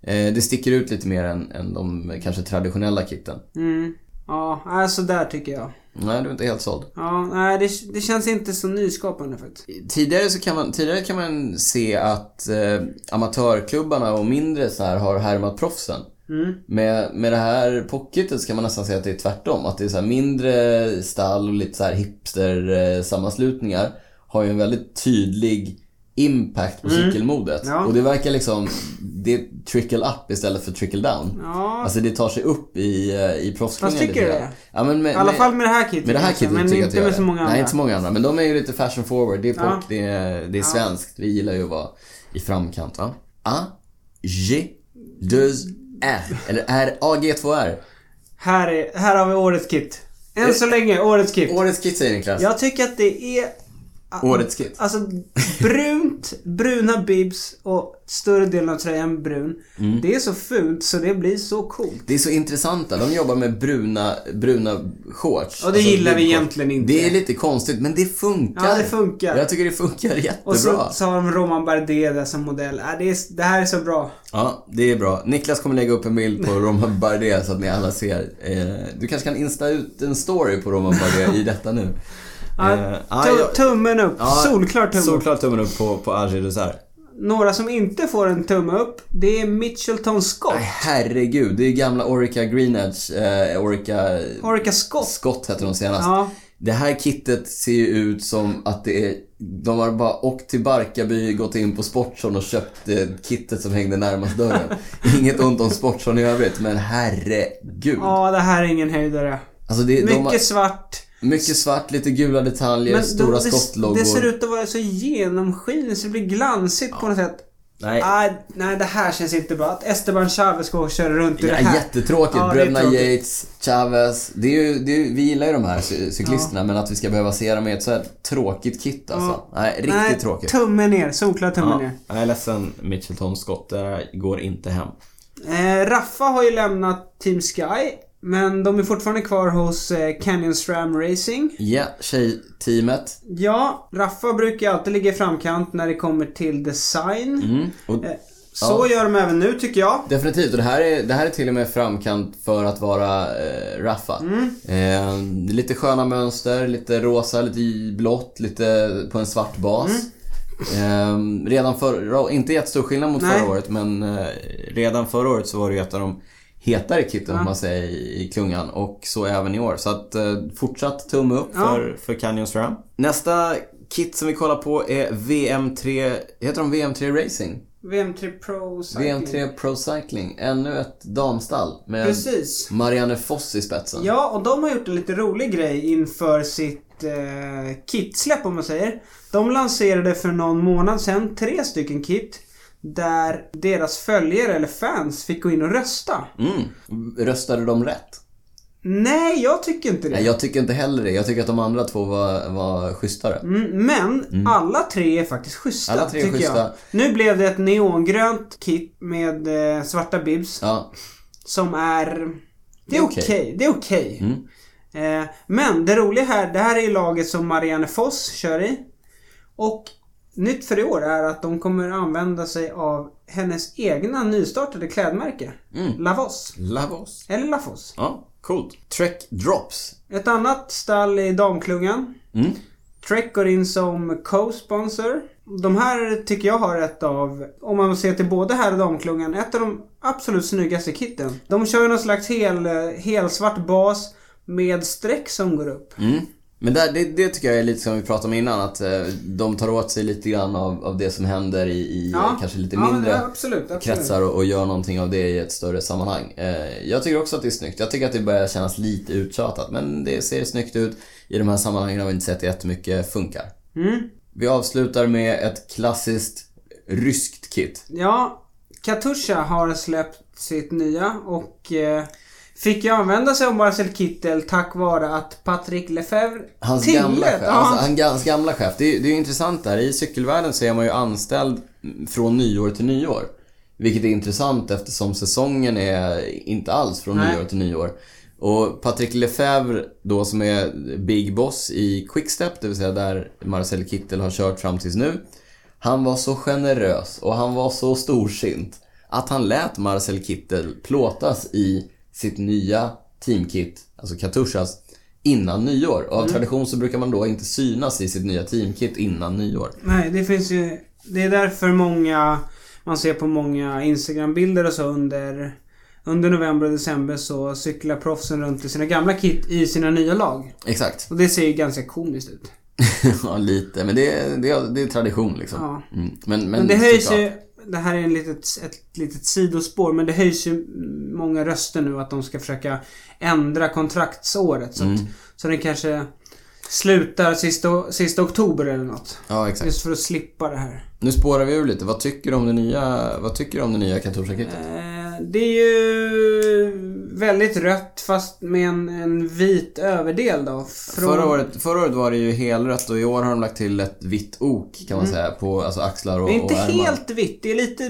Speaker 2: Eh, det sticker ut lite mer än, än de kanske traditionella kitten.
Speaker 1: Mm. Ja, äh, så där tycker jag.
Speaker 2: Nej, du är inte helt såld.
Speaker 1: Ja, nej det, det känns inte så nyskapande faktiskt.
Speaker 2: Tidigare, så kan man, tidigare kan man se att eh, amatörklubbarna och mindre så här har härmat proffsen.
Speaker 1: Mm.
Speaker 2: Med, med det här pocketet så kan man nästan säga att det är tvärtom. Att det är så här mindre stall och lite så här hipster eh, sammanslutningar har ju en väldigt tydlig impact på cykelmodet.
Speaker 1: Mm. Ja.
Speaker 2: Och det verkar liksom, det är trickle up istället för trickle down.
Speaker 1: Ja,
Speaker 2: Alltså det tar sig upp i, eh, i proffsklungan
Speaker 1: Fast tycker du
Speaker 2: lite
Speaker 1: det?
Speaker 2: grann. Ja, men med,
Speaker 1: i alla
Speaker 2: med-
Speaker 1: fall med det här kittet.
Speaker 2: med det här
Speaker 1: kanske,
Speaker 2: kittet
Speaker 1: Alltså, men
Speaker 2: tycker jag att
Speaker 1: inte
Speaker 2: jag
Speaker 1: med
Speaker 2: gör
Speaker 1: så
Speaker 2: det.
Speaker 1: många
Speaker 2: Nej,
Speaker 1: andra.
Speaker 2: inte så många andra. Men de är ju lite fashion forward. Det är pop,
Speaker 1: Ja.
Speaker 2: det är, det är svenskt. Vi gillar ju att vara i framkant va. A, G, 2 R. Eller R, A, G, 2 R.
Speaker 1: Här, är,
Speaker 2: Eh,
Speaker 1: här har vi årets kit. Än så länge, årets kit.
Speaker 2: Årets kit säger Niklas.
Speaker 1: Jag tycker att det är...
Speaker 2: Årets kit.
Speaker 1: Alltså brunt, bruna bibs och större delen av tröjan brun.
Speaker 2: Mm.
Speaker 1: Det är så fult så det blir så coolt.
Speaker 2: Det är så intressanta. De jobbar med bruna, bruna shorts. Alltså,
Speaker 1: Och det gillar vi egentligen inte.
Speaker 2: Det är lite konstigt, men det funkar.
Speaker 1: Ja, det funkar.
Speaker 2: Jag tycker det funkar jättebra.
Speaker 1: Och så, så har de Roman Bardet där som modell. Äh, det, är, det här är så bra.
Speaker 2: Ja, det är bra. Niklas kommer lägga upp en bild på Roman Bardet så att ni alla ser. Eh, du kanske kan insta ut en story på Roman Bardet i detta nu.
Speaker 1: Ja,
Speaker 2: Eh, ah,
Speaker 1: tu-
Speaker 2: jag-
Speaker 1: Tummen upp.
Speaker 2: Ja,
Speaker 1: Solklar tumme upp.
Speaker 2: Solklart tummen upp på, på Agir Dessert.
Speaker 1: Några som inte får en tumme upp, det är Mitchelton Scott.
Speaker 2: Nej, herregud. Det är ju gamla Orica Green Edge. Eh, Orica...
Speaker 1: Orica Scott.
Speaker 2: Scott hette de senast.
Speaker 1: Ja.
Speaker 2: Det här kittet ser ju ut som att det är... De har bara åkt till Barkarby, gått in på Sportson och köpt eh, kittet som hängde
Speaker 1: *laughs*
Speaker 2: närmast dörren. Inget ont om Sportson i övrigt, men herregud.
Speaker 1: Ja, det här är ingen höjdare.
Speaker 2: Alltså det, de har
Speaker 1: Mycket svart.
Speaker 2: mycket svart, lite gula detaljer,
Speaker 1: Men
Speaker 2: stora
Speaker 1: de, det,
Speaker 2: skottloggor.
Speaker 1: det ser ut att vara så genomskinligt så det blir glansigt på något sätt.
Speaker 2: Nej,
Speaker 1: Nej, Ah, nej, det här känns inte bra. Att Esteban Chavez går och kör runt i det
Speaker 2: Ja,
Speaker 1: här.
Speaker 2: jättetråkigt.
Speaker 1: Ja, det är
Speaker 2: Bröderna
Speaker 1: tråkigt.
Speaker 2: Yates, Chavez. Det är ju, det är, ju- vi gillar ju de här cy- cyklisterna, men att vi ska behöva se dem i ett så här tråkigt kit alltså. Nej, riktigt
Speaker 1: nej,
Speaker 2: tråkigt.
Speaker 1: tummen ner. Solklar tumme
Speaker 2: Ja,
Speaker 1: ner.
Speaker 2: jag är ledsen Mitchelton Scott, det här går inte hem.
Speaker 1: Eh, Raffa har ju lämnat Team Sky. Men de är fortfarande kvar hos eh, Canyon Stram Racing.
Speaker 2: Ja, tjejteamet.
Speaker 1: Ja, Raffa brukar ju alltid ligga i framkant när det kommer till design.
Speaker 2: Mm. Och
Speaker 1: Eh, Så gör de även nu tycker jag.
Speaker 2: Definitivt, och det här, är, det här är till och med framkant för att vara eh, Raffa.
Speaker 1: Mm.
Speaker 2: Eh, lite sköna mönster, lite rosa, lite i blått, lite på en svart
Speaker 1: Mm.
Speaker 2: bas. Eh, redan förra inte jättestor skillnad mot
Speaker 1: Nej.
Speaker 2: förra året, men eh, redan förra året så var det ju ett av de hetare kitten om man säger i i klungan och så även i år. Så att eh, fortsatt tumme upp
Speaker 1: Ja.
Speaker 2: för, för Canyon Ram. Nästa kit som vi kollar på är VM3, heter de VM3 Racing?
Speaker 1: VM3 Pro Cycling.
Speaker 2: VM3 Pro Cycling, ännu ett damstall med
Speaker 1: Precis.
Speaker 2: Marianne Foss i spetsen.
Speaker 1: Ja, och de har gjort en lite rolig grej inför sitt eh, kitsläpp om man säger. De lanserade för någon månad sedan tre stycken kit. Där deras följare eller fans fick gå in och rösta.
Speaker 2: Mm. Röstade de rätt?
Speaker 1: Nej, jag tycker inte det.
Speaker 2: Nej, jag tycker inte heller det. Jag tycker att de andra två var, var schysstare.
Speaker 1: Mm, men alla tre är faktiskt schyssta.
Speaker 2: Alla tre är
Speaker 1: tycker
Speaker 2: schyssta.
Speaker 1: Jag. Nu blev det ett neongrönt kit med eh, svarta bibs.
Speaker 2: Ja.
Speaker 1: Som är... Det är
Speaker 2: okej.
Speaker 1: okej. Det är okej. Eh, men det roliga här, det här är ju laget som Marianne Foss kör i. Och nytt för i år är att de kommer använda sig av hennes egna nystartade klädmärke. Lavos.
Speaker 2: Lavos.
Speaker 1: Eller Lafoss.
Speaker 2: Ja, coolt. Trek Drops.
Speaker 1: Ett annat stall i damklungan.
Speaker 2: Mm.
Speaker 1: Trek går in som co-sponsor. De här tycker jag har ett av, om man ser till både här och damklungan, ett av de absolut snyggaste kitten. De kör ju någon slags hel, helsvart bas med streck som går upp.
Speaker 2: Mm. Men där, det, det tycker jag är lite som vi pratade om innan, att eh, de tar åt sig lite grann av, av det som händer i, i eh, kanske lite
Speaker 1: ja,
Speaker 2: mindre
Speaker 1: Ja, absolut. absolut.
Speaker 2: kretsar och, och gör någonting av det i ett större sammanhang. Eh, jag tycker också att det är snyggt. Jag tycker att det börjar kännas lite uttjatat men det ser snyggt ut. I de här sammanhangen har vi inte sett jättemycket funkar.
Speaker 1: Mm.
Speaker 2: Vi avslutar med ett klassiskt ryskt kit.
Speaker 1: Ja, Katusha har släppt sitt nya och eh, fick ju använda sig av Marcel Kittel tack vare att Patrick Lefebvre
Speaker 2: Hans
Speaker 1: tillät-
Speaker 2: gamla chef.
Speaker 1: ja,
Speaker 2: Alltså,
Speaker 1: han-
Speaker 2: han, hans gamla chef. Det är, det är ju intressant där. I cykelvärlden så är man ju anställd från nyår till nyår. Vilket är intressant eftersom säsongen är inte alls från
Speaker 1: Nej.
Speaker 2: nyår till nyår. Och Patrick Lefebvre då som är Big Boss i Quickstep, det vill säga där Marcel Kittel har kört fram tills nu. Han var så generös och han var så storsint att han lät Marcel Kittel plåtas i sitt nya teamkit, alltså Katushas, innan nyår. Och av
Speaker 1: Mm.
Speaker 2: tradition så brukar man då inte synas i sitt nya teamkit innan nyår.
Speaker 1: Nej, det finns ju... Det är därför många... Man ser på många Instagram-bilder och så under... Under november och december så cyklar proffsen runt i sina gamla kit i sina nya lag.
Speaker 2: Exakt. *laughs*
Speaker 1: Och det ser ju ganska komiskt ut.
Speaker 2: ja, lite. Men det är, det är, det är tradition liksom.
Speaker 1: Ja.
Speaker 2: Mm. Men, men,
Speaker 1: Men det höjs
Speaker 2: såklart.
Speaker 1: ju... Det här är en litet, ett litet sidospår men det höjs ju många röster nu att de ska försöka ändra kontraktsåret. Så, att, så den kanske slutar sista, sista oktober eller något.
Speaker 2: Ja, exakt.
Speaker 1: Just för att slippa det här.
Speaker 2: Nu spårar vi ur lite. Vad tycker du om det nya, vad tycker du om det nya kontorsarkitet?
Speaker 1: Eh, Det är ju väldigt rött fast med en, en vit överdel då. Från,
Speaker 2: Förra, året, förra året var det ju helrött och i år har de lagt till ett vitt ok kan man säga på alltså axlar och,
Speaker 1: Mm. det är inte
Speaker 2: och ärmar.
Speaker 1: helt vitt. Det är lite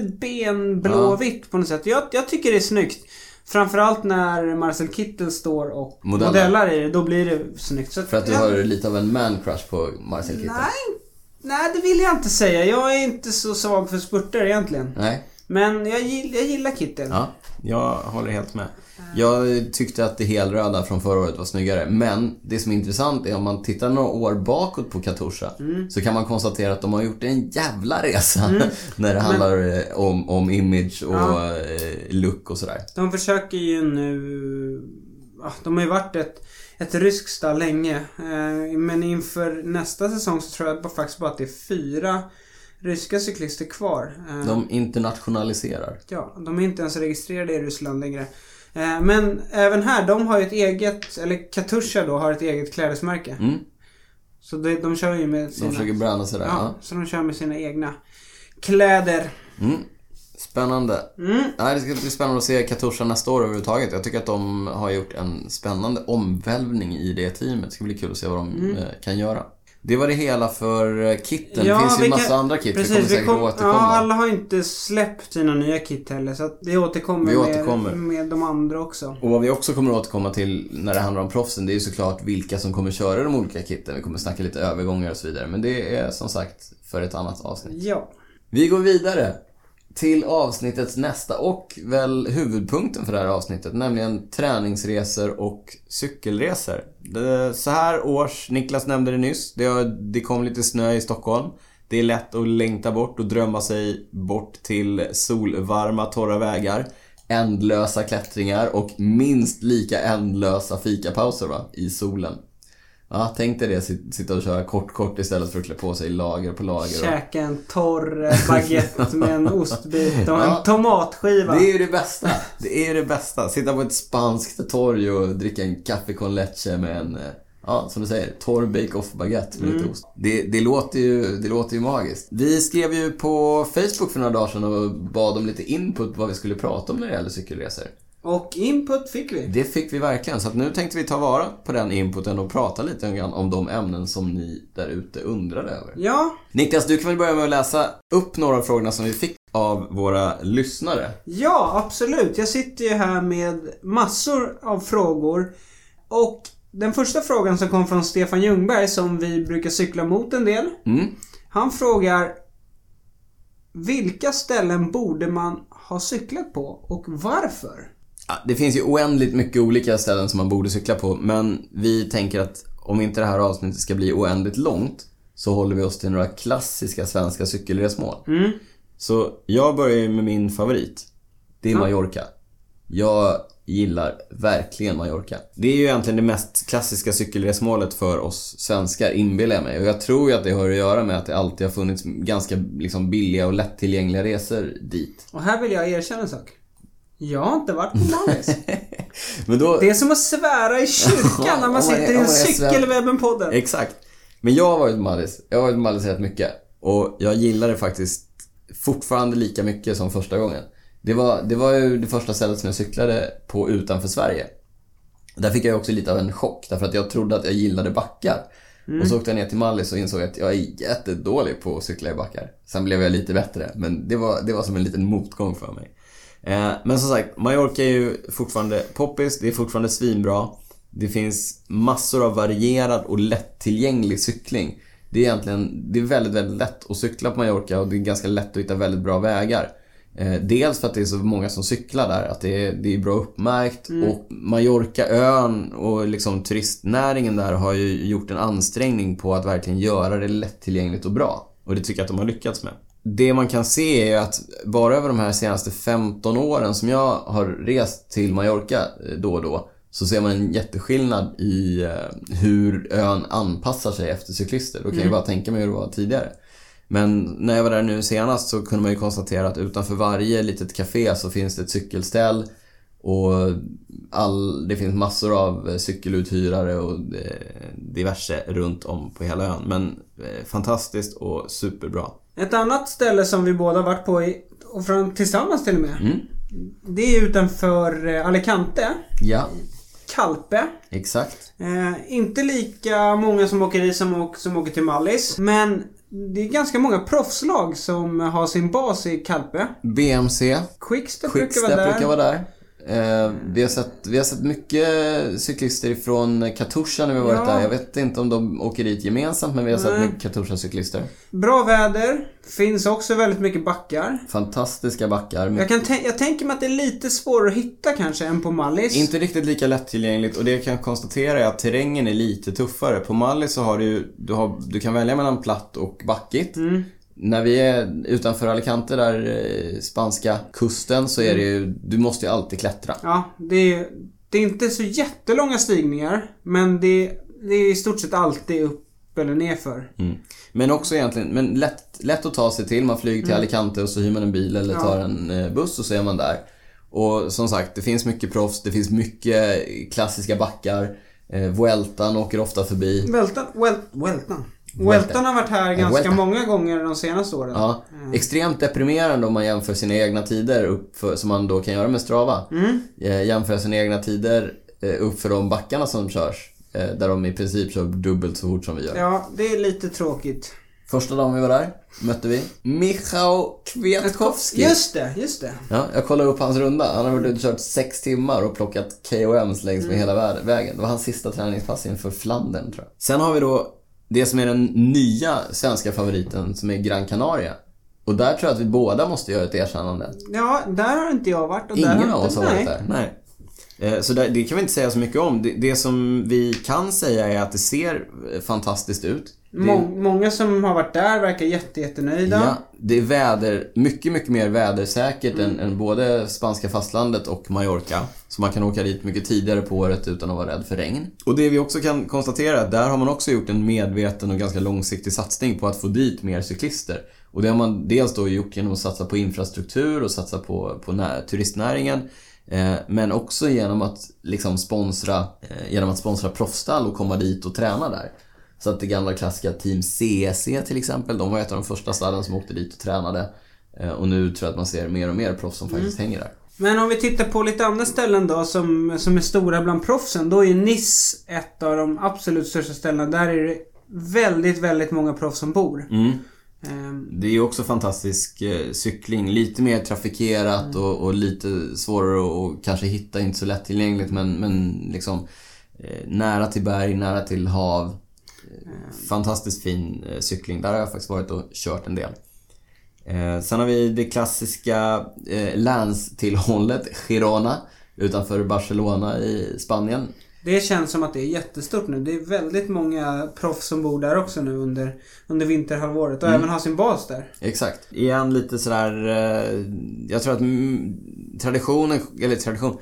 Speaker 1: benblåvitt på något sätt. Jag, jag tycker det är snyggt. Framförallt när Marcel Kittel står och
Speaker 2: Modellar.
Speaker 1: modellar, i det. Då blir det snyggt. Så
Speaker 2: För att du
Speaker 1: jag-
Speaker 2: har lite av en man-crush på Marcel Kittel.
Speaker 1: Nej, nej, det vill jag inte säga. Jag är inte så svag för spurter egentligen.
Speaker 2: Nej.
Speaker 1: Men jag, gill, jag gillar Kittel.
Speaker 2: Ja, jag håller helt med. Jag tyckte att det helröda från förra året var snyggare. Men det som är intressant är om man tittar några år bakåt på Katusha
Speaker 1: Mm.
Speaker 2: så kan man konstatera att de har gjort en jävla resa *laughs* när det handlar eh, om, om image och
Speaker 1: Ja.
Speaker 2: eh, look och sådär.
Speaker 1: De försöker ju nu... ja, De har ju varit ett, ett ryskt stall länge. Eh, Men inför nästa säsong så tror jag bara- faktiskt bara att det är fyra ryska cyklister kvar. Eh,
Speaker 2: De internationaliserar.
Speaker 1: Ja, de är inte ens registrerade i Ryssland längre. Eh, Men även här, de har ju ett eget, eller Katusha då, har ett eget klädesmärke.
Speaker 2: Mm.
Speaker 1: Så de, de kör ju med
Speaker 2: De
Speaker 1: sina...
Speaker 2: försöker bränna sig där.
Speaker 1: ja,
Speaker 2: Ja.
Speaker 1: så de kör med sina egna kläder.
Speaker 2: Mm. Spännande.
Speaker 1: Mm.
Speaker 2: Nej, det ska bli spännande att se Katusha nästa år överhuvudtaget. Jag tycker att de har gjort en spännande omvälvning i det teamet. Det ska bli kul att se vad de
Speaker 1: Mm.
Speaker 2: eh, kan göra. Det var det hela för eh, kitten. Det finns ju
Speaker 1: vi
Speaker 2: en massa
Speaker 1: kan-
Speaker 2: andra kit.
Speaker 1: precis,
Speaker 2: vi kommer säkert
Speaker 1: kom-
Speaker 2: återkomma.
Speaker 1: Ja, alla har inte släppt sina nya kit heller. Så att vi återkommer,
Speaker 2: Vi
Speaker 1: med-
Speaker 2: återkommer.
Speaker 1: Med, de andra också.
Speaker 2: Och vad vi också kommer att återkomma till när det handlar om proffsen, det är ju såklart vilka som kommer köra de olika kitten. Vi kommer snacka lite övergångar och så vidare. Men det är som sagt för ett annat avsnitt.
Speaker 1: Ja.
Speaker 2: Vi går vidare till avsnittets nästa och väl huvudpunkten för det här avsnittet, nämligen träningsresor och cykelresor. Det, så här års, Niklas nämnde det nyss, det, har, det kom lite snö i Stockholm. Det är lätt att längta bort och drömma sig bort till solvarma, torra vägar. Ändlösa klättringar och minst lika ändlösa fikapauser va, i solen. Ja, tänk dig det, sit- sitta och köra kort-kort istället för att klä på sig lager på lager. och-
Speaker 1: Käka en torr eh,
Speaker 2: *laughs*
Speaker 1: baguette med en ostbit och
Speaker 2: Ja.
Speaker 1: en tomatskiva.
Speaker 2: Det är ju det bästa. Det är ju det bästa. Sitta på ett spanskt torg och dricka en café con leche med en, eh, ja som du säger, torr bake-off baguette med lite ost. Det, det, låter ju, det låter ju magiskt. Vi skrev ju på Facebook för några dagar sedan och bad om lite input på vad vi skulle prata om när det gäller cykelresor.
Speaker 1: Och input fick vi.
Speaker 2: Det fick vi verkligen, så att nu tänkte vi ta vara på den inputen och prata lite grann om de ämnen som ni där ute undrade över.
Speaker 1: Ja,
Speaker 2: Niklas, du kan väl börja med att läsa upp några av frågorna som vi fick av våra lyssnare.
Speaker 1: Ja, absolut. Jag sitter ju här med massor av frågor. Och den första frågan som kom från Stefan Ljungberg, som vi brukar cykla mot en del.
Speaker 2: Mm.
Speaker 1: Han frågar Vilka ställen borde man ha cyklat på och varför?
Speaker 2: Ja, Det finns ju oändligt mycket olika ställen som man borde cykla på, men vi tänker att om inte det här avsnittet ska bli oändligt långt så håller vi oss till några klassiska svenska cykelresmål.
Speaker 1: Mm.
Speaker 2: Så jag börjar ju med min favorit. Det är Mallorca. Jag gillar verkligen Mallorca. Det är ju egentligen det mest klassiska cykelresmålet för oss svenskar, inbillar jag mig. Och jag tror ju att det har att göra med att det alltid har funnits ganska liksom, billiga och lättillgängliga resor dit.
Speaker 1: Och här vill jag erkänna en sak. Jag har inte varit på
Speaker 2: *laughs*
Speaker 1: Mallis.
Speaker 2: Men då...
Speaker 1: Det är som att svära i kyrkan när
Speaker 2: Om
Speaker 1: man
Speaker 2: man är-
Speaker 1: sitter i
Speaker 2: om man
Speaker 1: en
Speaker 2: är svär-
Speaker 1: Cykelwebben-podden.
Speaker 2: Exakt. Men jag har varit på Mallis. Jag har varit på Mallis rätt mycket. Och jag gillar det faktiskt fortfarande lika mycket som första gången. Det var, det var ju det första stället som jag cyklade på utanför Sverige. Där fick jag också lite av en chock därför att jag trodde att jag gillade backar. Och så åkte jag ner till Mallis och insåg att jag är jättedålig på att cykla i backar. Sen blev jag lite bättre, men det var, det var som en liten motgång för mig. Eh, men som sagt, Mallorca är ju fortfarande poppis, det är fortfarande svinbra. Det finns massor av varierad och lättillgänglig cykling. Det är egentligen det är väldigt, väldigt lätt att cykla på Mallorca och det är ganska lätt att hitta väldigt bra vägar. Eh, Dels för att det är så många som cyklar där, att det är, det är bra uppmärkt och Mallorcaön och liksom turistnäringen där har ju gjort en ansträngning på att verkligen göra det lättillgängligt och bra. Och det tycker jag att de har lyckats med. Det man kan se är ju att bara över de här senaste 15 åren som jag har rest till Mallorca eh, då och då så ser man en jätteskillnad i eh, hur ön anpassar sig efter cyklister. Då kan jag ju bara tänka mig hur det var tidigare. Men när jag var där nu senast så kunde man ju konstatera att utanför varje litet café så finns det ett cykelställ. Och all, det finns massor av eh, cykeluthyrare och eh, diverse runt om på hela ön. Men eh, fantastiskt och superbra. Mm.
Speaker 1: Ett annat ställe som vi båda varit på i, och fram, tillsammans till och med. Det är utanför eh, Alicante.
Speaker 2: Ja,
Speaker 1: Calpe.
Speaker 2: exakt.
Speaker 1: Eh, inte lika många som åker i som, åk- som åker till Mallis. Men det är ganska många proffslag som har sin bas i Calpe.
Speaker 2: BMC.
Speaker 1: Quickstep,
Speaker 2: Quickstep
Speaker 1: brukar vara där.
Speaker 2: brukar vara där. Eh, vi, har sett, vi har sett mycket cyklister ifrån Katusha när vi har varit
Speaker 1: Ja.
Speaker 2: där. Jag vet inte om de åker dit gemensamt men vi har sett
Speaker 1: Nej.
Speaker 2: mycket Katusha-cyklister.
Speaker 1: Bra väder. Finns också väldigt mycket backar.
Speaker 2: Fantastiska backar. Men
Speaker 1: Jag, kan tän- jag tänker mig att det är lite svårare att hitta kanske än på Mallis.
Speaker 2: Inte riktigt lika lättillgängligt och det jag kan konstatera är att terrängen är lite tuffare. På Mallis så har du, ju- du, har, du kan välja mellan platt och backigt. När vi är utanför Alicante där, eh, spanska kusten, så är det ju, du måste ju alltid klättra.
Speaker 1: Ja, det är, det är inte så jättelånga stigningar. Men det, det är i stort sett alltid upp eller nerför.
Speaker 2: Mm. Men också egentligen, men lätt, lätt att ta sig till. Man flyger till Alicante och så hyr man en bil eller tar en eh, buss och så är man där. Och som sagt, det finns mycket proffs, det finns mycket klassiska backar. Eh, Vueltan åker ofta förbi.
Speaker 1: Vältan, väl, vältan. Vältan har varit här ganska
Speaker 2: Vuelta.
Speaker 1: många gånger de senaste åren.
Speaker 2: Ja, extremt deprimerande om man jämför sina egna tider upp för, som man då kan göra med Strava. Eh, jämföra sina egna tider eh, upp för de backarna som körs. Eh, där de i princip kör dubbelt så fort som vi gör.
Speaker 1: Ja, det är lite tråkigt.
Speaker 2: Första dagen vi var där mötte vi Michał Kwiatkowski.
Speaker 1: Just det, just det.
Speaker 2: Ja, jag kollade upp hans runda. Han har varit ute och kört sex timmar och plockat KOMs längs med hela vär- vägen. Det var hans sista träningspass inför Flandern tror jag. Sen har vi då det som är den nya svenska favoriten som är Gran Canaria. Och där tror jag att vi båda måste göra ett erkännande.
Speaker 1: Ja, där har inte jag varit. Och där
Speaker 2: Ingen
Speaker 1: har
Speaker 2: av oss
Speaker 1: inte,
Speaker 2: har varit
Speaker 1: nej.
Speaker 2: där. Nej. Eh, Så där, det kan vi inte säga så mycket om. Det, det som vi kan säga är att det ser eh, fantastiskt ut. Det-
Speaker 1: Må- många som har varit där verkar jätte, jättenöjda.
Speaker 2: Ja, det är väder, mycket, mycket mer vädersäkert än, än både spanska fastlandet och Mallorca. Så man kan åka dit mycket tidigare på året utan att vara rädd för regn. Och det vi också kan konstatera är att där har man också gjort en medveten och ganska långsiktig satsning på att få dit mer cyklister. Och det har man dels då gjort genom att satsa på infrastruktur och satsa på, på nä- turistnäringen. Eh, men också genom att liksom sponsra, eh, genom att sponsra proffsstall och komma dit och träna där. Så att det gamla klassiska Team CEC till exempel, de var ett av de första stallen som åkte dit och tränade. Eh, Och nu tror jag att man ser mer och mer proffs som faktiskt hänger där.
Speaker 1: Men om vi tittar på lite andra ställen då som, som är stora bland proffsen. Då är ju Nice ett av de absolut största ställena. Där är det väldigt, väldigt många proffs som bor.
Speaker 2: Mm.
Speaker 1: Ehm,
Speaker 2: Det är ju också fantastisk eh, cykling. Lite mer trafikerat och, och lite svårare att att kanske hitta. Inte så lättillgängligt men, men liksom eh, nära till berg, nära till hav. Eh, Fantastiskt fin eh, cykling. Där har jag faktiskt varit och kört en del. Eh, sen har vi det klassiska eh, länstillhållet Girona utanför Barcelona i Spanien.
Speaker 1: det känns som att det är jättestort nu. Det är väldigt många proffs som bor där också nu under, under vinterhalvåret.
Speaker 2: Mm.
Speaker 1: Och även har sin bas där.
Speaker 2: Exakt. Igen lite sådär... eh, Jag tror att mm, traditionen, eller tradition.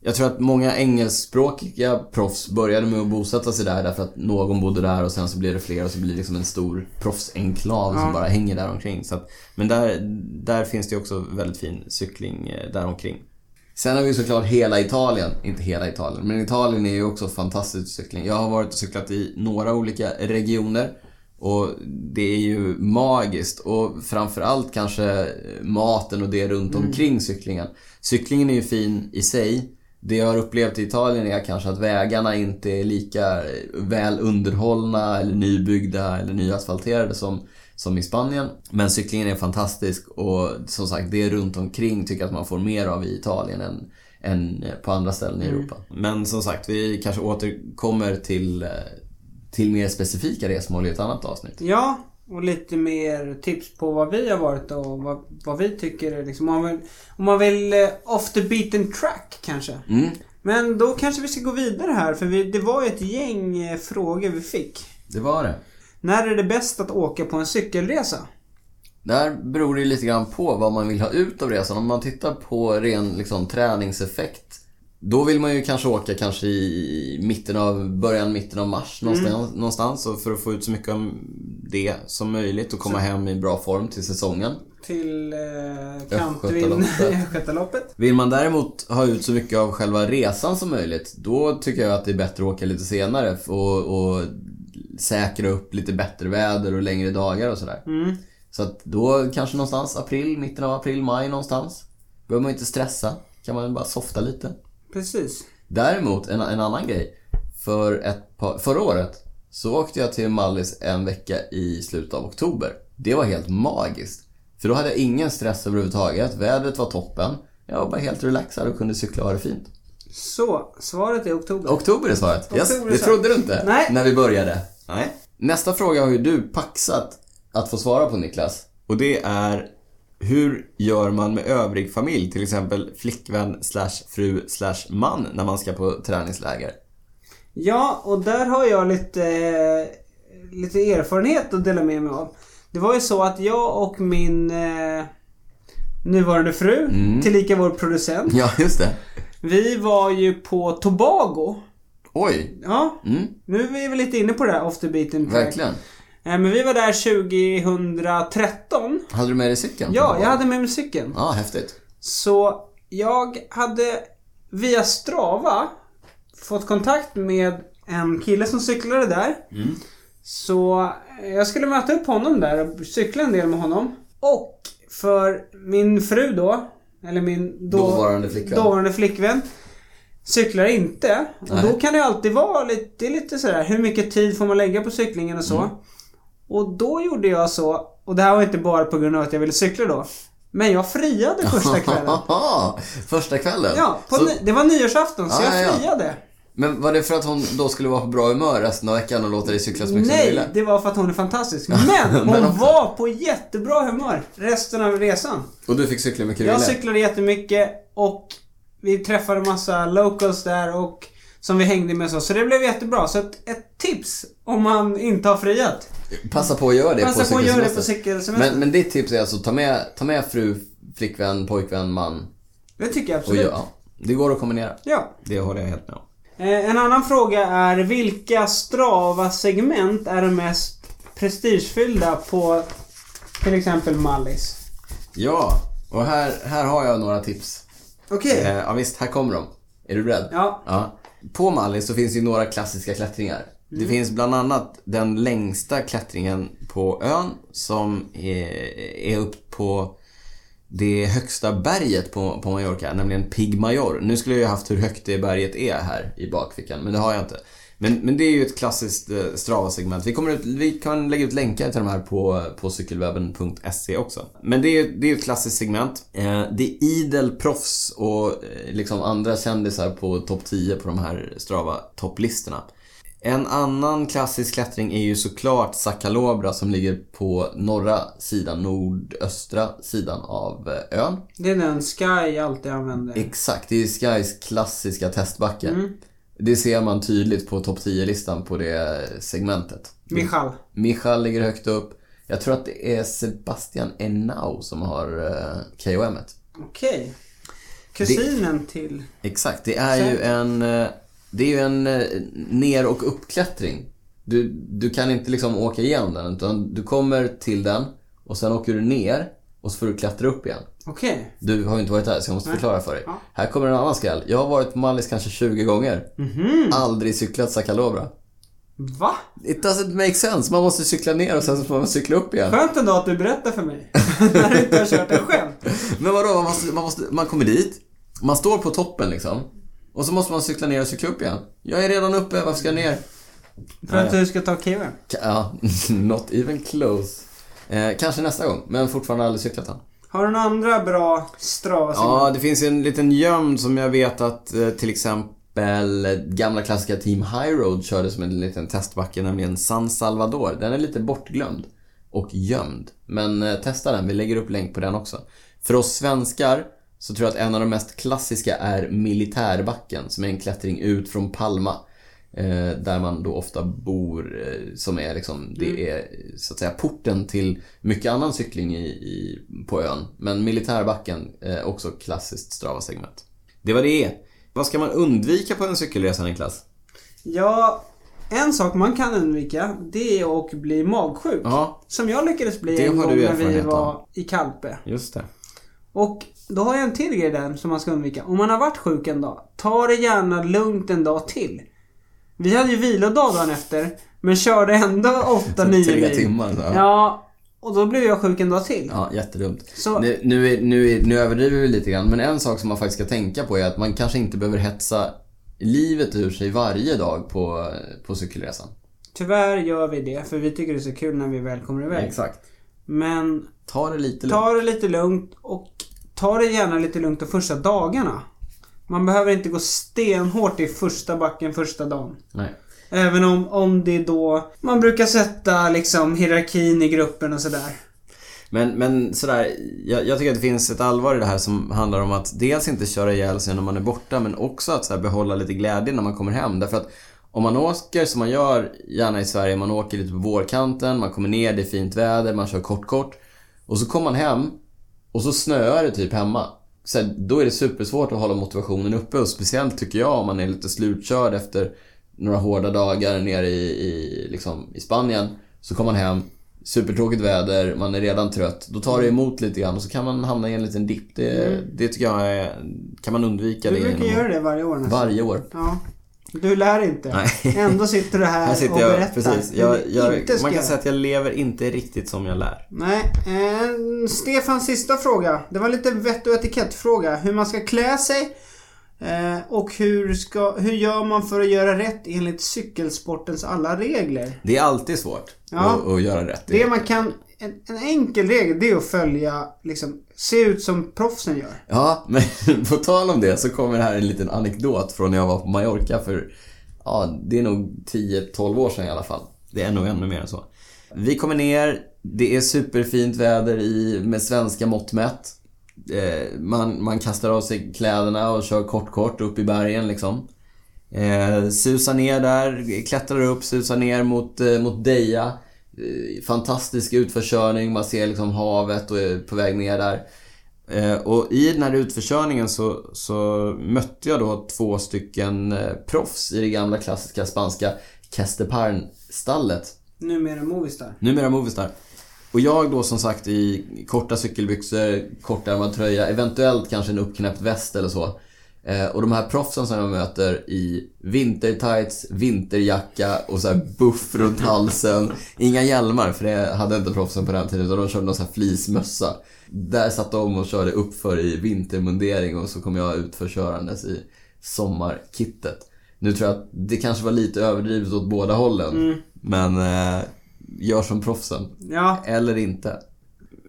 Speaker 2: Jag tror att många engelskspråkiga proffs började med att bosätta sig där därför att någon bodde där och sen så blev det fler och så blir det liksom en stor proffsenklav som bara hänger där omkring. Så att, men där, där finns det ju också väldigt fin cykling eh, där omkring. Sen har vi såklart hela Italien. Inte hela Italien, men Italien är ju också fantastiskt för cykling. Jag har varit och cyklat i några olika regioner. Och det är ju magiskt. Och framförallt kanske maten och det runt omkring cyklingen. Cyklingen är ju fin i sig. Det jag har upplevt i Italien är kanske att vägarna inte är lika väl underhållna eller nybyggda eller nyasfalterade som, som i Spanien. Men cyklingen är fantastisk och som sagt, det runt omkring tycker jag att man får mer av i Italien än, än på andra ställen i Europa. Men som sagt, vi kanske återkommer till, eh, till mer specifika resmål i ett annat avsnitt.
Speaker 1: Ja, och lite mer tips på vad vi har varit och vad, vad vi tycker är liksom, om man vill, om man vill eh, off the beaten track kanske.
Speaker 2: Mm,
Speaker 1: Men då kanske vi ska gå vidare här för vi, det var ju ett gäng eh, frågor vi fick.
Speaker 2: det var det.
Speaker 1: När är det bäst att åka på en cykelresa?
Speaker 2: Där beror det lite grann på vad man vill ha ut av resan. Om man tittar på ren liksom, träningseffekt. Då vill man ju kanske åka kanske i mitten av, början, mitten av mars någonstans, någonstans och för att få ut så mycket av det som möjligt och komma hem i bra form till säsongen.
Speaker 1: Till eh, Kantvind
Speaker 2: Östgötaloppet.
Speaker 1: *laughs* Östgötaloppet.
Speaker 2: Vill man däremot ha ut så mycket av själva resan som möjligt, då tycker jag att det är bättre att åka lite senare och, och säkra upp lite bättre väder och längre dagar och sådär. Så att då kanske någonstans april, mitten av april, maj någonstans. behöver man inte stressa. Kan man bara softa lite.
Speaker 1: Precis.
Speaker 2: Däremot, en, en annan grej. För ett par, förra året så åkte jag till Mallis en vecka i slutet av oktober. Det var helt magiskt. För då hade jag ingen stress överhuvudtaget. Vädret var toppen. Jag var bara helt relaxad och kunde cykla och ha det fint.
Speaker 1: Så, svaret är oktober.
Speaker 2: Oktober är svaret. Yes,
Speaker 1: Oktober är
Speaker 2: det
Speaker 1: svaret.
Speaker 2: trodde du inte
Speaker 1: Nej.
Speaker 2: när vi började. Nej. Nästa fråga har ju du paxat att få svara på Niklas. Och det är hur gör man med övrig familj? Till exempel flickvän slash fru slash man när man ska på träningsläger.
Speaker 1: Ja, och där har jag lite, eh, lite erfarenhet att dela med mig av. Det var ju så att jag och min eh, nuvarande fru, tillika vår producent,
Speaker 2: Ja, just det.
Speaker 1: vi var ju på Tobago.
Speaker 2: Oj.
Speaker 1: Ja,
Speaker 2: Mm,
Speaker 1: nu är vi lite inne på det här off the beaten track.
Speaker 2: verkligen.
Speaker 1: Eh, Men vi var där 2013.
Speaker 2: Hade du med dig cykeln?
Speaker 1: Ja, jag hade med mig cykeln.
Speaker 2: Ja, häftigt.
Speaker 1: Så jag hade via Strava fått kontakt med en kille som cyklade där.
Speaker 2: Mm.
Speaker 1: Så eh, jag skulle möta upp honom där och cykla en del med honom. Och för min fru då, eller min då,
Speaker 2: Dåvarande flickvän.
Speaker 1: dåvarande flickvän, cyklar inte. Och
Speaker 2: Nej.
Speaker 1: då kan det alltid vara lite, det är lite sådär, hur mycket tid får man lägga på cyklingen och så.
Speaker 2: Mm.
Speaker 1: Och då gjorde jag så, och det här var inte bara på grund av att jag ville cykla då. Men jag friade första kvällen.
Speaker 2: *laughs* Första kvällen?
Speaker 1: Ja, på
Speaker 2: Så-
Speaker 1: ny- det var nyårsafton så
Speaker 2: Ja, ja, ja.
Speaker 1: jag friade.
Speaker 2: Men var det för att hon då skulle vara på bra humör resten av veckan och låta dig cykla så mycket som du
Speaker 1: Nej,
Speaker 2: ville?
Speaker 1: det var för att hon är fantastisk. Men
Speaker 2: *laughs*
Speaker 1: hon
Speaker 2: Men också.
Speaker 1: var på jättebra humör resten av resan.
Speaker 2: Och du fick cykla mycket du
Speaker 1: Jag
Speaker 2: ville?
Speaker 1: cyklade jättemycket och vi träffade massa locals där och som vi hängde med så. Så det blev jättebra. Så ett, ett tips om man inte har friat.
Speaker 2: Passa på att göra det
Speaker 1: Passa
Speaker 2: på
Speaker 1: på att göra det på
Speaker 2: cykelsemester.
Speaker 1: cykelsemester.
Speaker 2: Men, men ditt tips är alltså ta med, ta med fru, flickvän, pojkvän, man
Speaker 1: Det tycker jag
Speaker 2: och
Speaker 1: absolut.
Speaker 2: ja, Det går att kombinera.
Speaker 1: Ja.
Speaker 2: Det håller jag helt med om.
Speaker 1: Eh, En annan fråga är vilka Strava-segment är de mest prestigefyllda på till exempel Mallis?
Speaker 2: Ja, och här, här har jag några tips.
Speaker 1: Okej.
Speaker 2: Eh, ja visst, här kommer de. Är du beredd?
Speaker 1: Ja.
Speaker 2: På Mallis så finns det ju några klassiska klättringar. Det
Speaker 1: Mm.
Speaker 2: finns bland annat den längsta klättringen på ön som är, är upp på det högsta berget på, på Mallorca, nämligen Pig Major. Nu skulle jag ju haft hur högt det berget är här i bakfickan, men det har jag inte. Men, men det är ju ett klassiskt eh, Strava-segment. Vi, kommer ut, vi kan lägga ut länkar till de här på, på cykelwebben.se också. Men det är ju det är ju ett klassiskt segment. Eh, det är idel proffs och eh, liksom andra kändisar på topp 10 på de här Strava-topplistorna. En annan klassisk klättring är ju såklart Sakalobra som ligger på norra sidan, nordöstra sidan av eh, ön.
Speaker 1: Det är den Sky alltid använder.
Speaker 2: Exakt, det är ju Skys klassiska testbacke. Det ser man tydligt på topp 10-listan på det segmentet.
Speaker 1: Michal.
Speaker 2: Michal ligger högt upp. Jag tror att det är Sebastian Enau som har eh, KOM. -et.
Speaker 1: Okej. Kusinen till...
Speaker 2: Exakt, det är ju en, eh, det är ju en eh, ner och uppklättring. Du, du kan inte liksom åka igenom den utan du kommer till den och sen åker du ner och så får du klättra upp igen.
Speaker 1: Okej.
Speaker 2: Du har ju inte varit där så jag måste förklara för dig.
Speaker 1: Ja.
Speaker 2: Här kommer en annan skall. Jag har varit på Mallis kanske 20 gånger. Aldrig cyklat Sakalobra.
Speaker 1: Va?
Speaker 2: It doesn't make sense. Man måste cykla ner och sen så får man cykla
Speaker 1: *laughs*
Speaker 2: upp igen.
Speaker 1: Skönt ändå att du berättar för
Speaker 2: *laughs*
Speaker 1: mig. När du inte har kört det själv.
Speaker 2: Men vadå, man, måste, man, måste, man kommer dit, man står på toppen liksom. Och så måste man cykla ner och cykla upp igen. Jag är redan uppe, varför ska jag ner?
Speaker 1: För att du ska ta KM.
Speaker 2: Ka- Ja, *laughs* not even close. Eh, kanske nästa gång, men fortfarande aldrig cyklat den.
Speaker 1: Har du några andra bra strava
Speaker 2: Ja, det finns ju en liten gömd som jag vet att eh, till exempel eh, gamla klassiska Team High Road körde som en liten testbacke, nämligen San Salvador. Den är lite bortglömd och gömd. Men eh, testa den, vi lägger upp länk på den också. För oss svenskar så tror jag att en av de mest klassiska är Militärbacken som är en klättring ut från Palma. Eh, där man då ofta bor, eh, som är liksom, det är eh, så att säga porten till mycket annan cykling i, i, på ön. Men militärbacken, eh, också klassiskt Strava-segment. Det var det. Vad ska man undvika på en cykelresa Niklas?
Speaker 1: Ja, en sak man kan undvika det är att bli magsjuk.
Speaker 2: Ja,
Speaker 1: Som jag lyckades bli
Speaker 2: Det
Speaker 1: en
Speaker 2: har
Speaker 1: gång
Speaker 2: du
Speaker 1: när vi
Speaker 2: erfarenhet av.
Speaker 1: var i Kalpe.
Speaker 2: just det.
Speaker 1: Och då har jag en till grej där som man ska undvika. Om man har varit sjuk en dag, ta det gärna lugnt en dag till.
Speaker 2: *laughs*
Speaker 1: Vi hade ju vilodag dagen efter, men körde ändå 8-9 mil.
Speaker 2: Tre timmar. så.
Speaker 1: Ja, Och då blev jag sjuk en dag till.
Speaker 2: Ja, jättedumt.
Speaker 1: Så-
Speaker 2: Nu, nu, är, nu, är, nu överdriver vi lite grann, men en sak som man faktiskt ska tänka på är att man kanske inte behöver hetsa livet ur sig varje dag på, på cykelresan.
Speaker 1: Tyvärr gör vi det, för vi tycker det är så kul när vi väl kommer iväg.
Speaker 2: Exakt.
Speaker 1: Men
Speaker 2: Ta det lite lugnt.
Speaker 1: ta det lite lugnt och ta det gärna lite lugnt de första dagarna. Man behöver inte gå stenhårt i första backen första dagen.
Speaker 2: Nej.
Speaker 1: Även om, om det är då man brukar sätta liksom hierarkin i gruppen och sådär.
Speaker 2: Men, men sådär, jag, jag tycker att det finns ett allvar i det här som handlar om att dels inte köra ihjäl sig när man är borta men också att såhär, behålla lite glädje när man kommer hem. Därför att om man åker som man gör gärna i Sverige, man åker lite på vårkanten, man kommer ner, det är fint väder, man kör kort-kort. Och så kommer man hem och så snöar det typ hemma. Så här, då är det supersvårt att hålla motivationen uppe och speciellt tycker jag om man är lite slutkörd efter några hårda dagar nere i, i, liksom, i Spanien. Så kommer man hem, supertråkigt väder, man är redan trött. Då tar det emot lite grann och så kan man hamna i en liten dipp. Det, det tycker jag är, kan man undvika.
Speaker 1: Du
Speaker 2: det
Speaker 1: brukar
Speaker 2: genom-
Speaker 1: göra det varje år nästan.
Speaker 2: Varje år.
Speaker 1: Ja. Du lär inte.
Speaker 2: Nej.
Speaker 1: Ändå sitter du här,
Speaker 2: Här sitter
Speaker 1: och
Speaker 2: jag,
Speaker 1: berättar
Speaker 2: precis.
Speaker 1: hur
Speaker 2: Jag,
Speaker 1: du
Speaker 2: jag,
Speaker 1: inte ska
Speaker 2: man kan
Speaker 1: göra.
Speaker 2: säga att jag lever inte riktigt som jag lär.
Speaker 1: Nej. Eh, Stefans sista fråga. Det var lite vett och etikettfråga. Hur man ska klä sig. Eh, och hur, ska, hur gör man för att göra rätt enligt cykelsportens alla regler?
Speaker 2: Det är alltid svårt
Speaker 1: Ja.
Speaker 2: att, att göra rätt.
Speaker 1: Det man kan... En, en enkel regel det är att följa, liksom, se ut som proffsen gör.
Speaker 2: Ja, men *laughs* på tal om det så kommer här en liten anekdot från när jag var på Mallorca för, ja, det är nog 10-12 år sedan i alla fall. Det är nog ännu mer än så. Vi kommer ner, det är superfint väder i, med svenska mått mätt. Eh, man, man kastar av sig kläderna och kör kort-kort upp i bergen liksom. Eh, susar ner där, klättrar upp, susar ner mot, eh, mot Deja. Eh, fantastisk utförskörning, man ser liksom havet och är på väg ner där. Eh, och i den här utförskörningen så, så mötte jag då två stycken eh, proffs i det gamla klassiska spanska Casteparn-stallet.
Speaker 1: Numera Movistar.
Speaker 2: Numera Movistar. Och jag då som sagt i korta cykelbyxor, kortärmad tröja, eventuellt kanske en uppknäppt väst eller så. Eh, och de här proffsen som jag möter i vintertights, vinterjacka och så här buff runt halsen. Inga hjälmar, för det hade inte proffsen på den tiden, utan de körde någon så här fleecemössa. Där satt de och körde uppför i vintermundering och så kom jag utför körandes i sommarkittet. Nu tror jag att det kanske var lite överdrivet åt båda hållen, men eh, Gör som proffsen.
Speaker 1: Ja.
Speaker 2: Eller inte.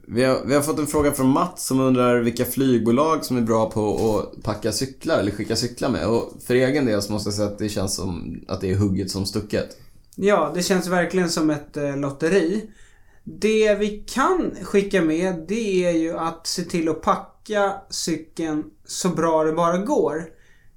Speaker 2: Vi har, vi har fått en fråga från Mats som undrar vilka flygbolag som är bra på att packa cyklar eller skicka cyklar med. Och för egen del så måste jag säga att det känns som att det är hugget som stucket.
Speaker 1: Ja, det känns verkligen som ett eh, lotteri. Det vi kan skicka med det är ju att se till att packa cykeln så bra det bara går.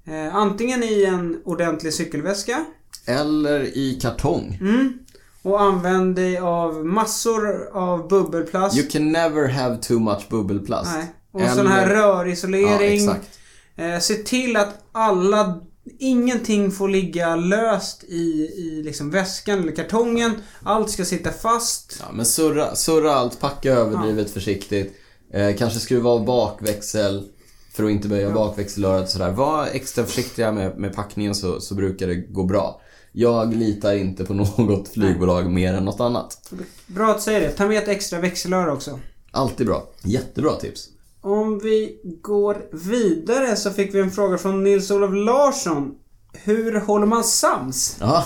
Speaker 1: Eh, antingen i en ordentlig cykelväska
Speaker 2: Eller i kartong.
Speaker 1: mm, och använd dig av massor av bubbelplast.
Speaker 2: You can never have too much bubbelplast.
Speaker 1: Nej. Och sån här
Speaker 2: Ja,
Speaker 1: rörisolering.
Speaker 2: exakt.
Speaker 1: Eh, se till att alla, ingenting får ligga löst i, i liksom väskan eller kartongen. Allt ska sitta fast.
Speaker 2: Ja, men surra, surra allt, packa överdrivet försiktigt. Eh, kanske skruva av bakväxel för att inte böja bakväxelröret och sådär. Var extra försiktiga med, med packningen så, så brukar det gå bra. Jag litar inte på *laughs* något flygbolag mer än något annat.
Speaker 1: Bra att säga det. Ta med ett extra växelöre också.
Speaker 2: Alltid bra. Jättebra tips.
Speaker 1: Om vi går vidare så fick vi en fråga från Nils-Olof Larsson. Hur håller man sams?
Speaker 2: Ja,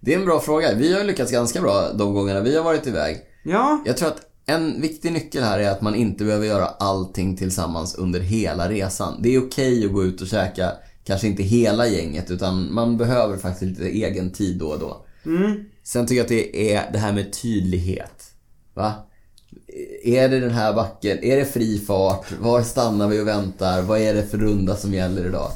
Speaker 2: det är en bra fråga. Vi har lyckats ganska bra de gångerna vi har varit iväg.
Speaker 1: Ja,
Speaker 2: Jag tror att en viktig nyckel här är att man inte behöver göra allting tillsammans under hela resan. Det är okej att gå ut och käka, kanske inte hela gänget, utan man behöver faktiskt lite egen tid då och då. Sen tycker jag att det är det här med tydlighet. Va? Är det den här backen? Är det fri fart? Var stannar vi och väntar? Vad är det för runda som gäller idag?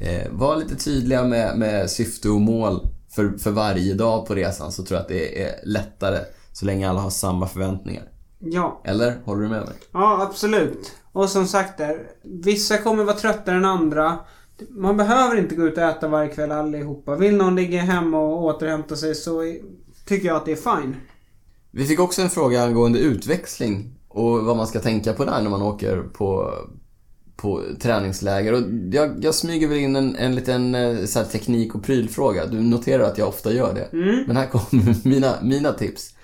Speaker 2: Eh, var lite tydliga med, med syfte och mål för, för varje dag på resan så tror jag att det är lättare så länge alla har samma förväntningar.
Speaker 1: ja,
Speaker 2: Eller? Håller du med mig?
Speaker 1: ja absolut. Och som sagt där, vissa kommer vara tröttare än andra. Man behöver inte gå ut och äta varje kväll allihopa. Vill någon ligga hemma och återhämta sig så är- tycker jag att det är fine.
Speaker 2: Vi fick också en fråga angående utväxling och vad man ska tänka på där när man åker på, på träningsläger. Och jag, jag smyger väl in en, en liten eh, så här, teknik och *laughs* prylfråga. Du noterar att jag ofta gör det. Men här kommer mina, mina tips.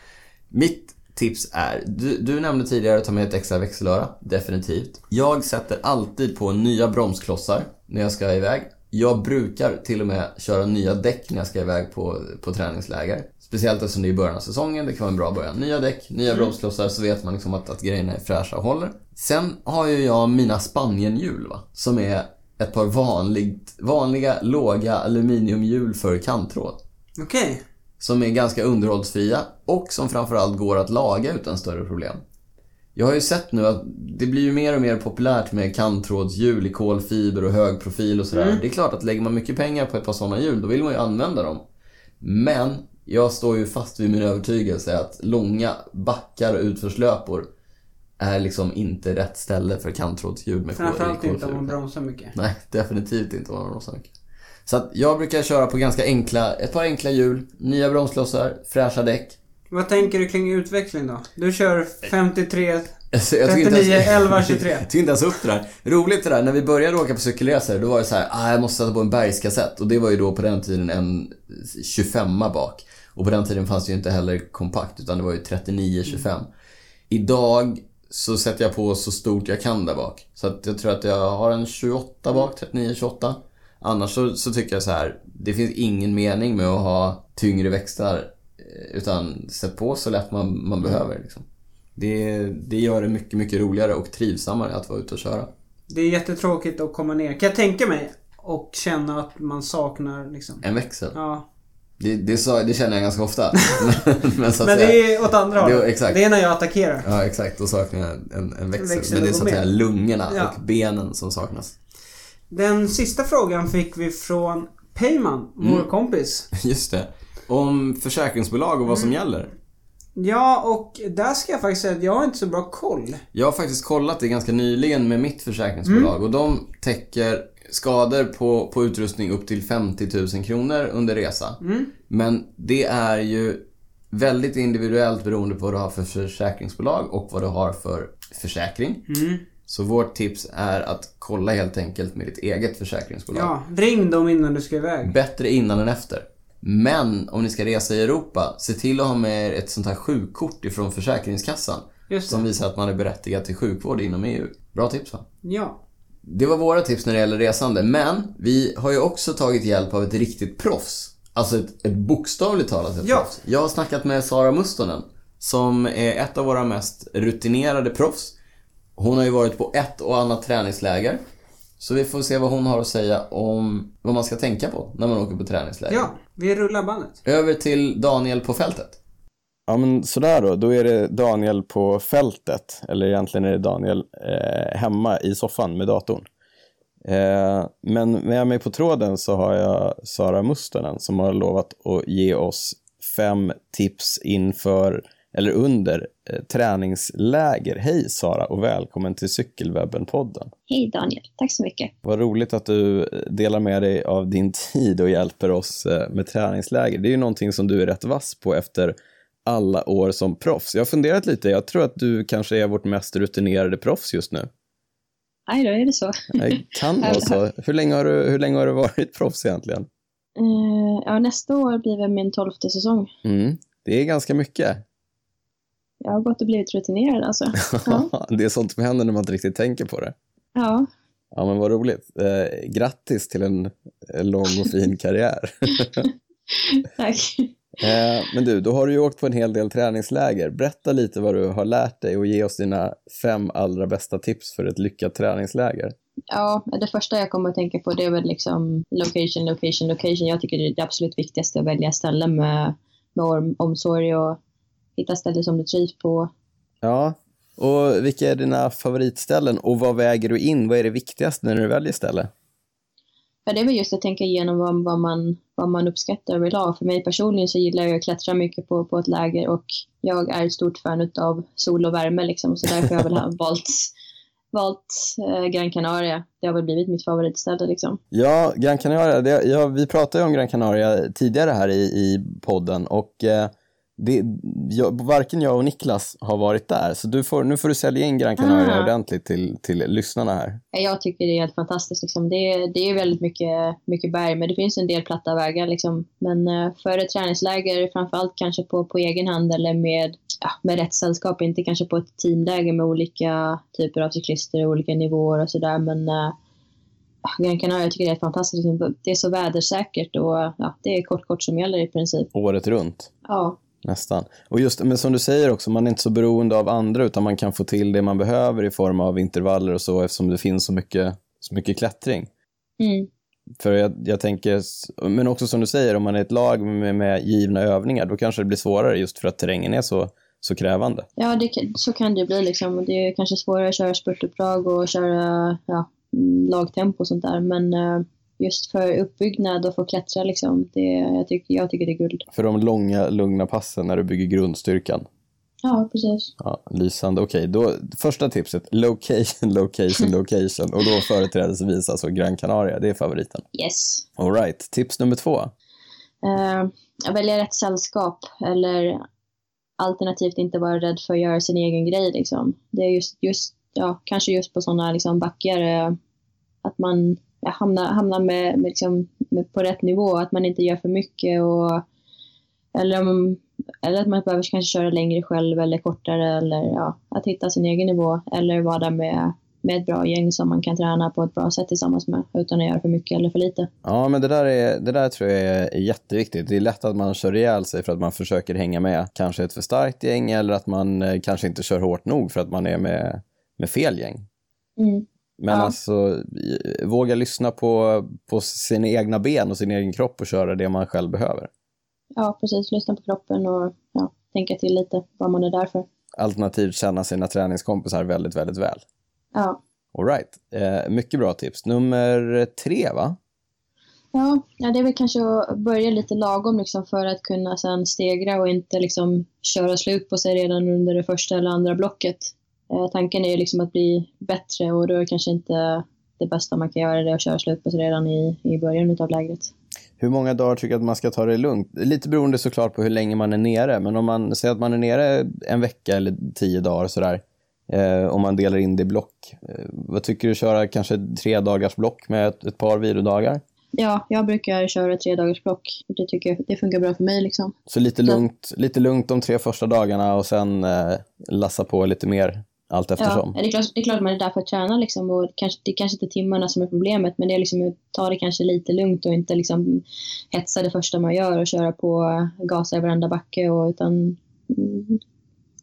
Speaker 2: Mitt tips är. Du, du nämnde tidigare att ta med ett extra växelöra. Definitivt. Jag sätter alltid på nya bromsklossar när jag ska iväg. Jag brukar till och med köra nya däck när jag ska iväg på, på träningsläger. Speciellt eftersom det är i början av säsongen. Det kan vara en bra början. Nya däck, nya bromsklossar så vet man liksom att, att grejerna är fräscha och håller. Sen har ju jag mina Spanienhjul va. Som är ett par vanligt, vanliga låga aluminiumhjul för kanttråd
Speaker 1: Okej.
Speaker 2: som är ganska underhållsfria och som framförallt går att laga utan större problem. Jag har ju sett nu att det blir ju mer och mer populärt med kanttrådshjul i kolfiber och hög profil och sådär.
Speaker 1: Mm.
Speaker 2: Det är klart att lägger man mycket pengar på ett par sådana hjul, då vill man ju använda dem. Men jag står ju fast vid min övertygelse att långa backar och utförslöpor är liksom inte rätt ställe för kanttrådshjul med kol- i
Speaker 1: Framförallt inte om
Speaker 2: kolfiber.
Speaker 1: man bromsar mycket.
Speaker 2: Nej, definitivt inte om man har bromsar mycket. Så att jag brukar köra på ganska enkla, ett par enkla hjul, nya bromsklossar, fräscha däck.
Speaker 1: Vad tänker du kring utveckling då? Du kör 53...
Speaker 2: Alltså, jag tog inte
Speaker 1: 39, 11, 23.
Speaker 2: *laughs* Jag tog inte ens upp det där. Roligt det där, när vi började åka på cykelresor då var det så här, ah, jag måste sätta på en bergskassett. Och det var ju då på den tiden en 25 bak. Och på den tiden fanns det ju inte heller kompakt utan det var ju 39-25. Idag så sätter jag på så stort jag kan där bak. Så att jag tror att jag har en 28 bak, 39-28. Annars så, så tycker jag så här, det finns ingen mening med att ha tyngre växlar. eh, Utan sätt på så lätt man, man behöver. Liksom. Det, det gör det mycket, mycket roligare och trivsammare att vara ute och köra.
Speaker 1: Det är jättetråkigt att komma ner, kan jag tänka mig. Och känna att man saknar liksom...
Speaker 2: En växel.
Speaker 1: Ja.
Speaker 2: Det, det, sa, det känner jag ganska ofta. *laughs* men så att
Speaker 1: Men
Speaker 2: säga,
Speaker 1: det är åt andra
Speaker 2: Det-
Speaker 1: hållet.
Speaker 2: exakt.
Speaker 1: Det är när jag attackerar.
Speaker 2: Ja, exakt. Då saknar jag en, en växel.
Speaker 1: Växel
Speaker 2: Men det är
Speaker 1: och
Speaker 2: så att säga
Speaker 1: ben.
Speaker 2: lungorna
Speaker 1: Ja.
Speaker 2: och benen som saknas. *laughs*
Speaker 1: Den sista frågan fick vi från Peyman, vår kompis.
Speaker 2: Just det. Om försäkringsbolag och vad
Speaker 1: Mm.
Speaker 2: som gäller.
Speaker 1: Ja, och där ska jag faktiskt säga att jag har inte så bra koll.
Speaker 2: Jag har faktiskt kollat det ganska nyligen med mitt försäkringsbolag och de täcker skador på, på utrustning upp till 50 000 kronor under resa. Men det är ju väldigt individuellt beroende på vad du har för försäkringsbolag och vad du har för försäkring. Så vårt tips är att kolla helt enkelt med ditt eget försäkringsbolag.
Speaker 1: Ja, ring dem innan du ska iväg.
Speaker 2: Bättre innan än efter. Men om ni ska resa i Europa, se till att ha med er ett sånt här sjukkort ifrån Försäkringskassan.
Speaker 1: Just det.
Speaker 2: Som visar att man är berättigad till sjukvård inom EU. Bra tips va?
Speaker 1: Ja.
Speaker 2: Det var våra tips när det gäller resande, men vi har ju också tagit hjälp av ett riktigt proffs. Alltså ett, ett bokstavligt talat ett
Speaker 1: Ja.
Speaker 2: proffs. Jag har snackat med Sara Mustonen, som är ett av våra mest rutinerade proffs. Hon har ju varit på ett och annat träningsläger. Så vi får se vad hon har att säga om vad man ska tänka på när man åker på träningsläger.
Speaker 1: Ja, vi rullar bandet.
Speaker 2: Över till Daniel på fältet.
Speaker 3: Ja, men sådär då. Då är det Daniel på fältet. Eller egentligen är det Daniel eh, hemma i soffan med datorn. Eh, men med mig på tråden så har jag Sara Mustonen som har lovat att ge oss fem tips inför eller under eh, träningsläger. Hej Sara och välkommen till Cykelwebben-podden.
Speaker 4: Hej Daniel, tack så mycket.
Speaker 3: Vad roligt att du delar med dig av din tid och hjälper oss eh, med träningsläger. Det är ju någonting som du är rätt vass på efter alla år som proffs. Jag har funderat lite. Jag tror att du kanske är vårt mest rutinerade proffs just nu.
Speaker 4: Aj då, är det så?
Speaker 3: Det kan vara så. Hur länge har du, hur länge har du varit proffs egentligen?
Speaker 4: Eh, ja, nästa år blir väl min tolfte säsong.
Speaker 3: Mm. Det är ganska mycket.
Speaker 4: Jag har gått och blivit rutinerad alltså. Ja.
Speaker 3: *laughs* det är sånt som händer när man inte riktigt tänker på det.
Speaker 4: Ja,
Speaker 3: Ja, men vad roligt. Eh, grattis till en eh, lång och fin karriär.
Speaker 4: tack. *laughs*
Speaker 3: Eh, Men du, då har du ju åkt på en hel del träningsläger. Berätta lite vad du har lärt dig och ge oss dina fem allra bästa tips för ett lyckat träningsläger.
Speaker 4: Ja, det första jag kommer att tänka på det är väl liksom location, location, location. Jag tycker det är det absolut viktigaste att välja ställen med, med om- omsorg och hitta ställen som du trivs på.
Speaker 3: Ja, och vilka är dina favoritställen och vad väger du in? Vad är det viktigaste när du väljer ställe?
Speaker 4: Ja, det är väl just att tänka igenom vad, vad, man, vad man uppskattar överlag. För mig personligen så gillar jag att klättra mycket på, på ett läger och jag är ett stort fan av sol och värme liksom. Så därför har jag väl ha- valt, valt eh, Gran Canaria. Det har väl blivit mitt favoritställe liksom.
Speaker 3: Ja, Gran Canaria. Det, ja, vi pratade ju om Gran Canaria tidigare här i, i podden och eh,
Speaker 2: det, jag, varken jag och Niklas har varit där, så du får, nu får du sälja in Gran Canaria
Speaker 4: Ah.
Speaker 2: ordentligt till, till lyssnarna här.
Speaker 4: Ja, Jag tycker det är helt fantastiskt. Liksom. Det, är- det är väldigt mycket, mycket berg, men det finns en del platta vägar. Liksom. Men eh, för ett träningsläger, framförallt kanske på, på egen hand eller med, ja, med rätt sällskap, inte kanske på ett teamläger med olika typer av cyklister och olika nivåer och sådär. Men eh, ja, Gran Canaria jag tycker det är helt fantastiskt. Liksom. Det är så vädersäkert och ja, det är kort, kort som gäller i princip.
Speaker 2: Året runt,
Speaker 4: Ja,
Speaker 2: nästan. Och just, men som du säger också, man är inte så beroende av andra, utan man kan få till det man behöver i form av intervaller och så, eftersom det finns så mycket, så mycket klättring.
Speaker 4: mm.
Speaker 2: För jag, jag tänker, s- men också som du säger, om man är ett lag med, med givna övningar, då kanske det blir svårare just för att terrängen är så, så krävande.
Speaker 4: ja det, kan- så kan det ju bli. Liksom. Och Det är kanske svårare att köra spurtuppdrag och köra ja, mm, lagtempo och sånt där. Men eh, just för uppbyggnad och få klättra, liksom, det, jag, tycker, jag tycker det är guld.
Speaker 2: För de långa, lugna passen när du bygger grundstyrkan.
Speaker 4: Ja, precis.
Speaker 2: Ja, lysande. Okej, då första tipset, location, *laughs* location, location. Och då företrädesvis alltså Gran Canaria, det är favoriten.
Speaker 4: Yes.
Speaker 2: All right, tips nummer två.
Speaker 4: Eh, jag väljer rätt sällskap eller alternativt inte vara rädd för att göra sin egen grej. Liksom. Det är just, just, ja, kanske just på sådana liksom, backar eh, att man ja, hamnar, hamnar med, med, liksom, med, på rätt nivå, att man inte gör för mycket. Och, eller, om, eller att man behöver kanske köra längre själv eller kortare. Eller, ja, att hitta sin egen nivå eller vara där med, med ett bra gäng som man kan träna på ett bra sätt tillsammans med utan att göra för mycket eller för lite.
Speaker 2: Ja, men det där, är, det där tror jag är jätteviktigt. Det är lätt att man kör ihjäl sig för att man försöker hänga med kanske ett för starkt gäng eller att man eh, kanske inte kör hårt nog för att man är med, med fel gäng.
Speaker 4: Mm.
Speaker 2: Men
Speaker 4: Ja.
Speaker 2: alltså, i- våga lyssna på, på sina egna ben och sin egen kropp och köra det man själv behöver.
Speaker 4: Ja, precis. Lyssna på kroppen och ja, tänka till lite vad man är där för.
Speaker 2: Alternativt känna sina träningskompisar väldigt, väldigt väl.
Speaker 4: Ja,
Speaker 2: All right. Eh, mycket bra tips. Nummer tre, va?
Speaker 4: ja, ja det är väl kanske att börja lite lagom liksom för att kunna sen stegra och inte liksom köra slut på sig redan under det första eller andra blocket. Eh, tanken är ju liksom att bli bättre och då är det kanske inte det bästa man kan göra det att köra slut på sig redan i, i början av lägret.
Speaker 2: Hur många dagar tycker jag att man ska ta det lugnt? Lite beroende såklart på hur länge man är nere, men om man säger att man är nere en vecka eller tio dagar sådär, eh, om man delar in det i block, eh, vad tycker du köra kanske tre dagars block med ett, ett par vilodagar?
Speaker 4: Ja, jag brukar köra tre dagars block. Det tycker jag, det funkar bra för mig liksom.
Speaker 2: Så lite
Speaker 4: Ja.
Speaker 2: lugnt, lite lugnt de tre första dagarna och sen eh, lassa på lite mer allt eftersom.
Speaker 4: Ja, det är klart, det är klart man är där för att träna liksom och kanske, det är kanske inte timmarna som är problemet men det är liksom att ta det kanske lite lugnt och inte liksom hetsa det första man gör och köra på eh, gasa i varenda backe och utan mm,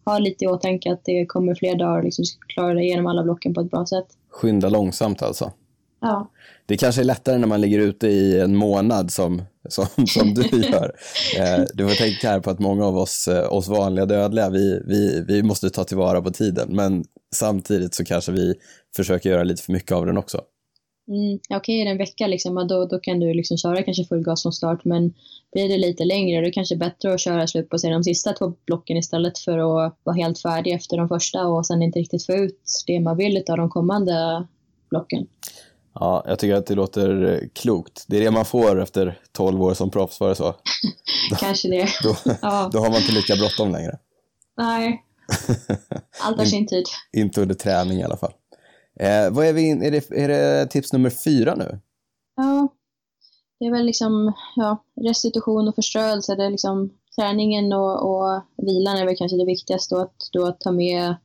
Speaker 4: ha lite i åtanke att det kommer fler dagar och liksom ska klara dig igenom alla blocken på ett bra sätt.
Speaker 2: Skynda långsamt alltså.
Speaker 4: Ja,
Speaker 2: Det kanske är lättare när man ligger ute i en månad som, som, som du gör. Eh, du får tänka här på att många av oss, eh, oss vanliga dödliga, vi, vi, vi måste ta tillvara på tiden. Men samtidigt så kanske vi försöker göra lite för mycket av den också.
Speaker 4: mm, okej är det en vecka liksom, ja, då, då kan du liksom köra kanske full gas från start men blir det lite längre då är det kanske bättre att köra slut på sig de sista två blocken istället för att vara helt färdig efter de första och sen inte riktigt få ut det man vill av de kommande blocken.
Speaker 2: Ja, jag tycker att det låter eh, klokt. Det är det man får efter 12 år som proffs, var det så?
Speaker 4: Kanske det.
Speaker 2: Då,
Speaker 4: Ja,
Speaker 2: då har man inte lika bråttom längre.
Speaker 4: nej. Allt har sin tid.
Speaker 2: Inte under träning i alla fall. Eh, vad är, vi in, är, det, är det tips nummer fyra nu?
Speaker 4: Ja, det är väl liksom ja, restitution och förströelse. Det är liksom träningen och, och vilan är väl kanske det viktigaste. Och att då ta med,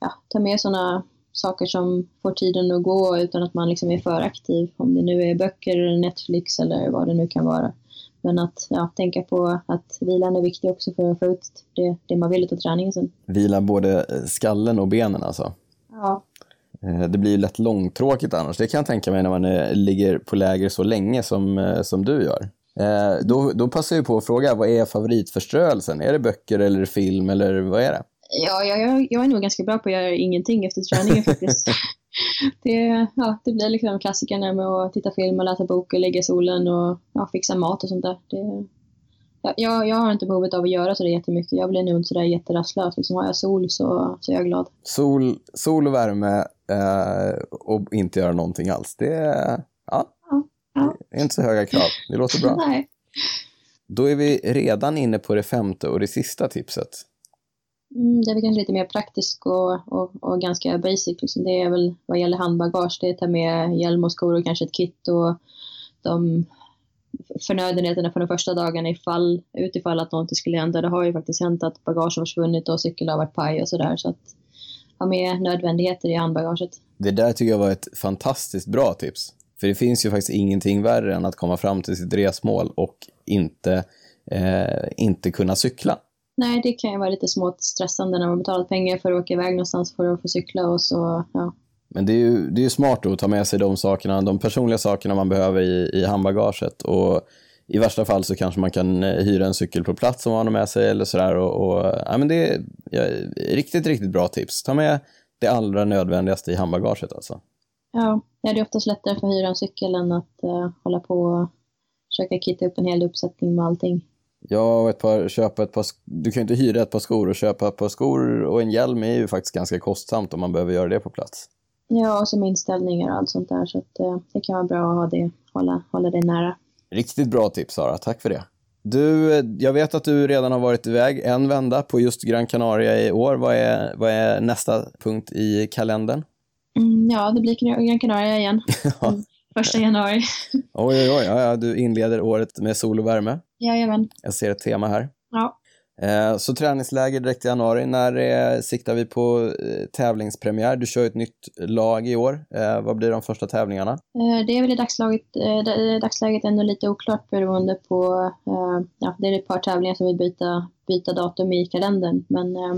Speaker 4: ja, ta med sådana saker som får tiden att gå utan att man liksom är för aktiv. Om det nu är böcker eller Netflix eller vad det nu kan vara. Men att ja, tänka på att vilan är viktig också för att få ut det, det man vill av träningen sen.
Speaker 2: Vila både eh, skallen och benen alltså.
Speaker 4: Ja,
Speaker 2: Eh, Det blir ju lätt långtråkigt annars. Det kan jag tänka mig när man eh, ligger på läger så länge som, eh, som du gör. Eh, Då, då passar jag på att fråga, vad är favoritförströelsen? Är det böcker eller film eller vad är det?
Speaker 4: Ja, jag, jag, jag är nog ganska bra på att göra ingenting efter träningen faktiskt. det, ja, det blir liksom klassikerna med att titta film och läsa bok och ligga i solen och ja, fixa mat och sånt där. Det, ja, jag, jag har inte behovet av att göra sådär jättemycket. Jag blir nog inte sådär jätterastlös. Liksom, har jag sol så, så är jag glad.
Speaker 2: Sol, sol och värme eh, och inte göra någonting alls. Det är, ja,
Speaker 4: Ja.
Speaker 2: det är inte så höga krav. Det låter bra.
Speaker 4: Nej.
Speaker 2: Då är vi redan inne på det femte och det sista tipset.
Speaker 4: Mm, det är väl kanske lite mer praktiskt och, och, och ganska basic. Liksom. Det är väl vad gäller handbagage, det är att ta med hjälm och skor och kanske ett kit och de förnödenheterna för de första dagarna ifall, utifall att någonting skulle hända. Det har ju faktiskt hänt att bagage har försvunnit och cykel har varit paj och sådär. Så att ha med nödvändigheter i handbagaget.
Speaker 2: Det där tycker jag var ett fantastiskt bra tips. För det finns ju faktiskt ingenting värre än att komma fram till sitt resmål och inte, eh, inte kunna cykla.
Speaker 4: Nej, det kan ju vara lite smått stressande när man betalat pengar för att åka iväg någonstans för att få cykla och så, ja.
Speaker 2: Men det är ju, det är ju smart då att ta med sig de sakerna, de personliga sakerna man behöver i, i handbagaget. Och I värsta fall så kanske man kan eh, hyra en cykel på plats som man har med sig eller sådär. Och, och, ja, men det är ja, riktigt, riktigt bra tips. Ta med det allra nödvändigaste i handbagaget alltså.
Speaker 4: Ja, det är oftast lättare för att hyra en cykel än att eh, hålla på och försöka kitta upp en hel uppsättning med allting.
Speaker 2: Ja, och ett par, köpa ett par, sk- du kan ju inte hyra ett par skor och köpa ett par skor och en hjälm är ju faktiskt ganska kostsamt om man behöver göra det på plats.
Speaker 4: Ja, och som inställningar och allt sånt där så att eh, det kan vara bra att ha det, hålla, hålla det nära.
Speaker 2: Riktigt bra tips Sara, tack för det. Du, eh, jag vet att du redan har varit iväg en vända på just Gran Canaria i år. Vad är, vad är nästa punkt i kalendern?
Speaker 4: Mm, ja, det blir Gran- Gran Canaria igen. Mm, Första januari.
Speaker 2: Oj, oj, oj, ja, ja, du inleder året med sol och värme.
Speaker 4: Jajamän.
Speaker 2: Jag ser ett tema här.
Speaker 4: Ja.
Speaker 2: Eh, Så träningsläger direkt i januari. När eh, siktar vi på eh, tävlingspremiär? Du kör ju ett nytt lag i år. Eh, Vad blir de första tävlingarna?
Speaker 4: Eh, Det är väl i dagsläget, eh, da- i dagsläget ändå lite oklart beroende på, eh, ja, det är ett par tävlingar som vill byta, byta datum i kalendern, men eh,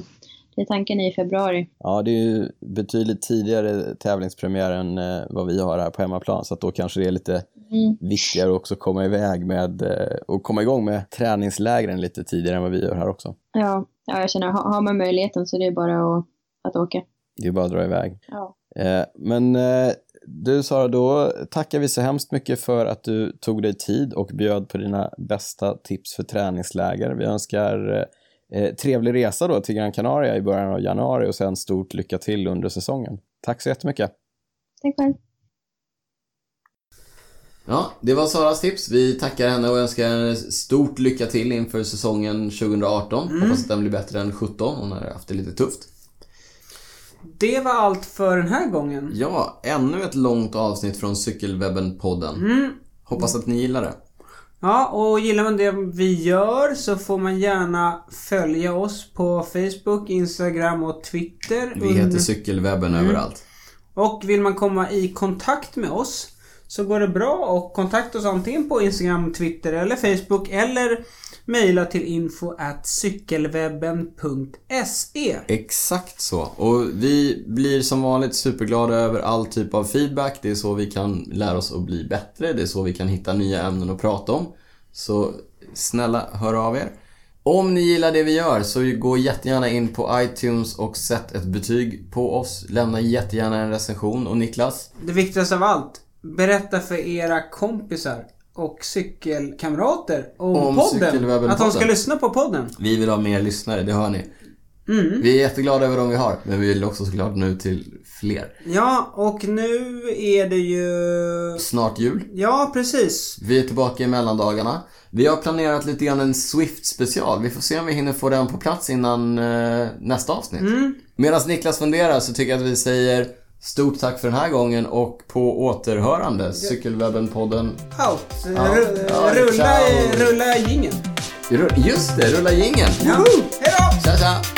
Speaker 4: det är tanken i februari.
Speaker 2: Ja, det är ju betydligt tidigare tävlingspremiär än eh, vad vi har här på hemmaplan, så att då kanske det är lite
Speaker 4: Mm.
Speaker 2: viktigare också att komma iväg med eh, och komma igång med träningslägren lite tidigare än vad vi gör här också.
Speaker 4: Ja, ja, jag känner, ha- har man möjligheten så det är bara att, att åka.
Speaker 2: Det är bara att dra iväg.
Speaker 4: Ja.
Speaker 2: Eh, Men eh, du Sara, då tackar vi så hemskt mycket för att du tog dig tid och bjöd på dina bästa tips för träningsläger. Vi önskar eh, trevlig resa då till Gran Canaria i början av januari och sen stort lycka till under säsongen. Tack så jättemycket.
Speaker 4: Tack själv.
Speaker 5: Ja, det var Saras tips. Vi tackar henne och önskar henne stort lycka till inför säsongen 2018. Hoppas att den blir bättre än 17. Hon har haft det lite tufft.
Speaker 1: Det var allt för den här gången.
Speaker 5: Ja, ännu ett långt avsnitt från Cykelwebben-podden.
Speaker 1: Mm.
Speaker 5: Hoppas att ni gillar det.
Speaker 1: Ja, och gillar man det vi gör så får man gärna följa oss på Facebook, Instagram och Twitter.
Speaker 5: Vi heter Cykelwebben överallt.
Speaker 1: Och vill man komma i kontakt med oss så går det bra att kontakta oss antingen på Instagram, Twitter eller Facebook eller mejla till info at cykelwebben.se.
Speaker 5: Exakt så. Och vi blir som vanligt superglada över all typ av feedback. Det är så vi kan lära oss att bli bättre. Det är så vi kan hitta nya ämnen att prata om. Så snälla, hör av er. Om ni gillar det vi gör så gå jättegärna in på iTunes och sätt ett betyg på oss. Lämna jättegärna en recension. Och Niklas,
Speaker 1: Det viktigaste av allt, berätta för era kompisar och cykelkamrater om,
Speaker 5: Om
Speaker 1: podden.
Speaker 5: Cykelwebben-podden.
Speaker 1: Att de ska lyssna på podden.
Speaker 5: vi vill ha mer lyssnare, det hör ni. Vi är jätteglada över de vi har, men vi vill också såklart nu till fler.
Speaker 1: Ja, och nu är det ju...
Speaker 5: Snart jul.
Speaker 1: Ja, precis.
Speaker 5: Vi är tillbaka i mellandagarna. Vi har planerat lite grann en Swift-special. Vi får se om vi hinner få den på plats innan eh, nästa avsnitt. Medan Niklas funderar så tycker jag att vi säger stort tack för den här gången och på återhörande. Cykelwebben-podden.
Speaker 1: Out.
Speaker 5: Ja.
Speaker 1: Ru-
Speaker 5: Ja,
Speaker 1: rulla
Speaker 5: ciao.
Speaker 1: rulla jingeln.
Speaker 5: Just det, rulla jingeln!
Speaker 1: Woo! Hej då!
Speaker 5: Tja, tja!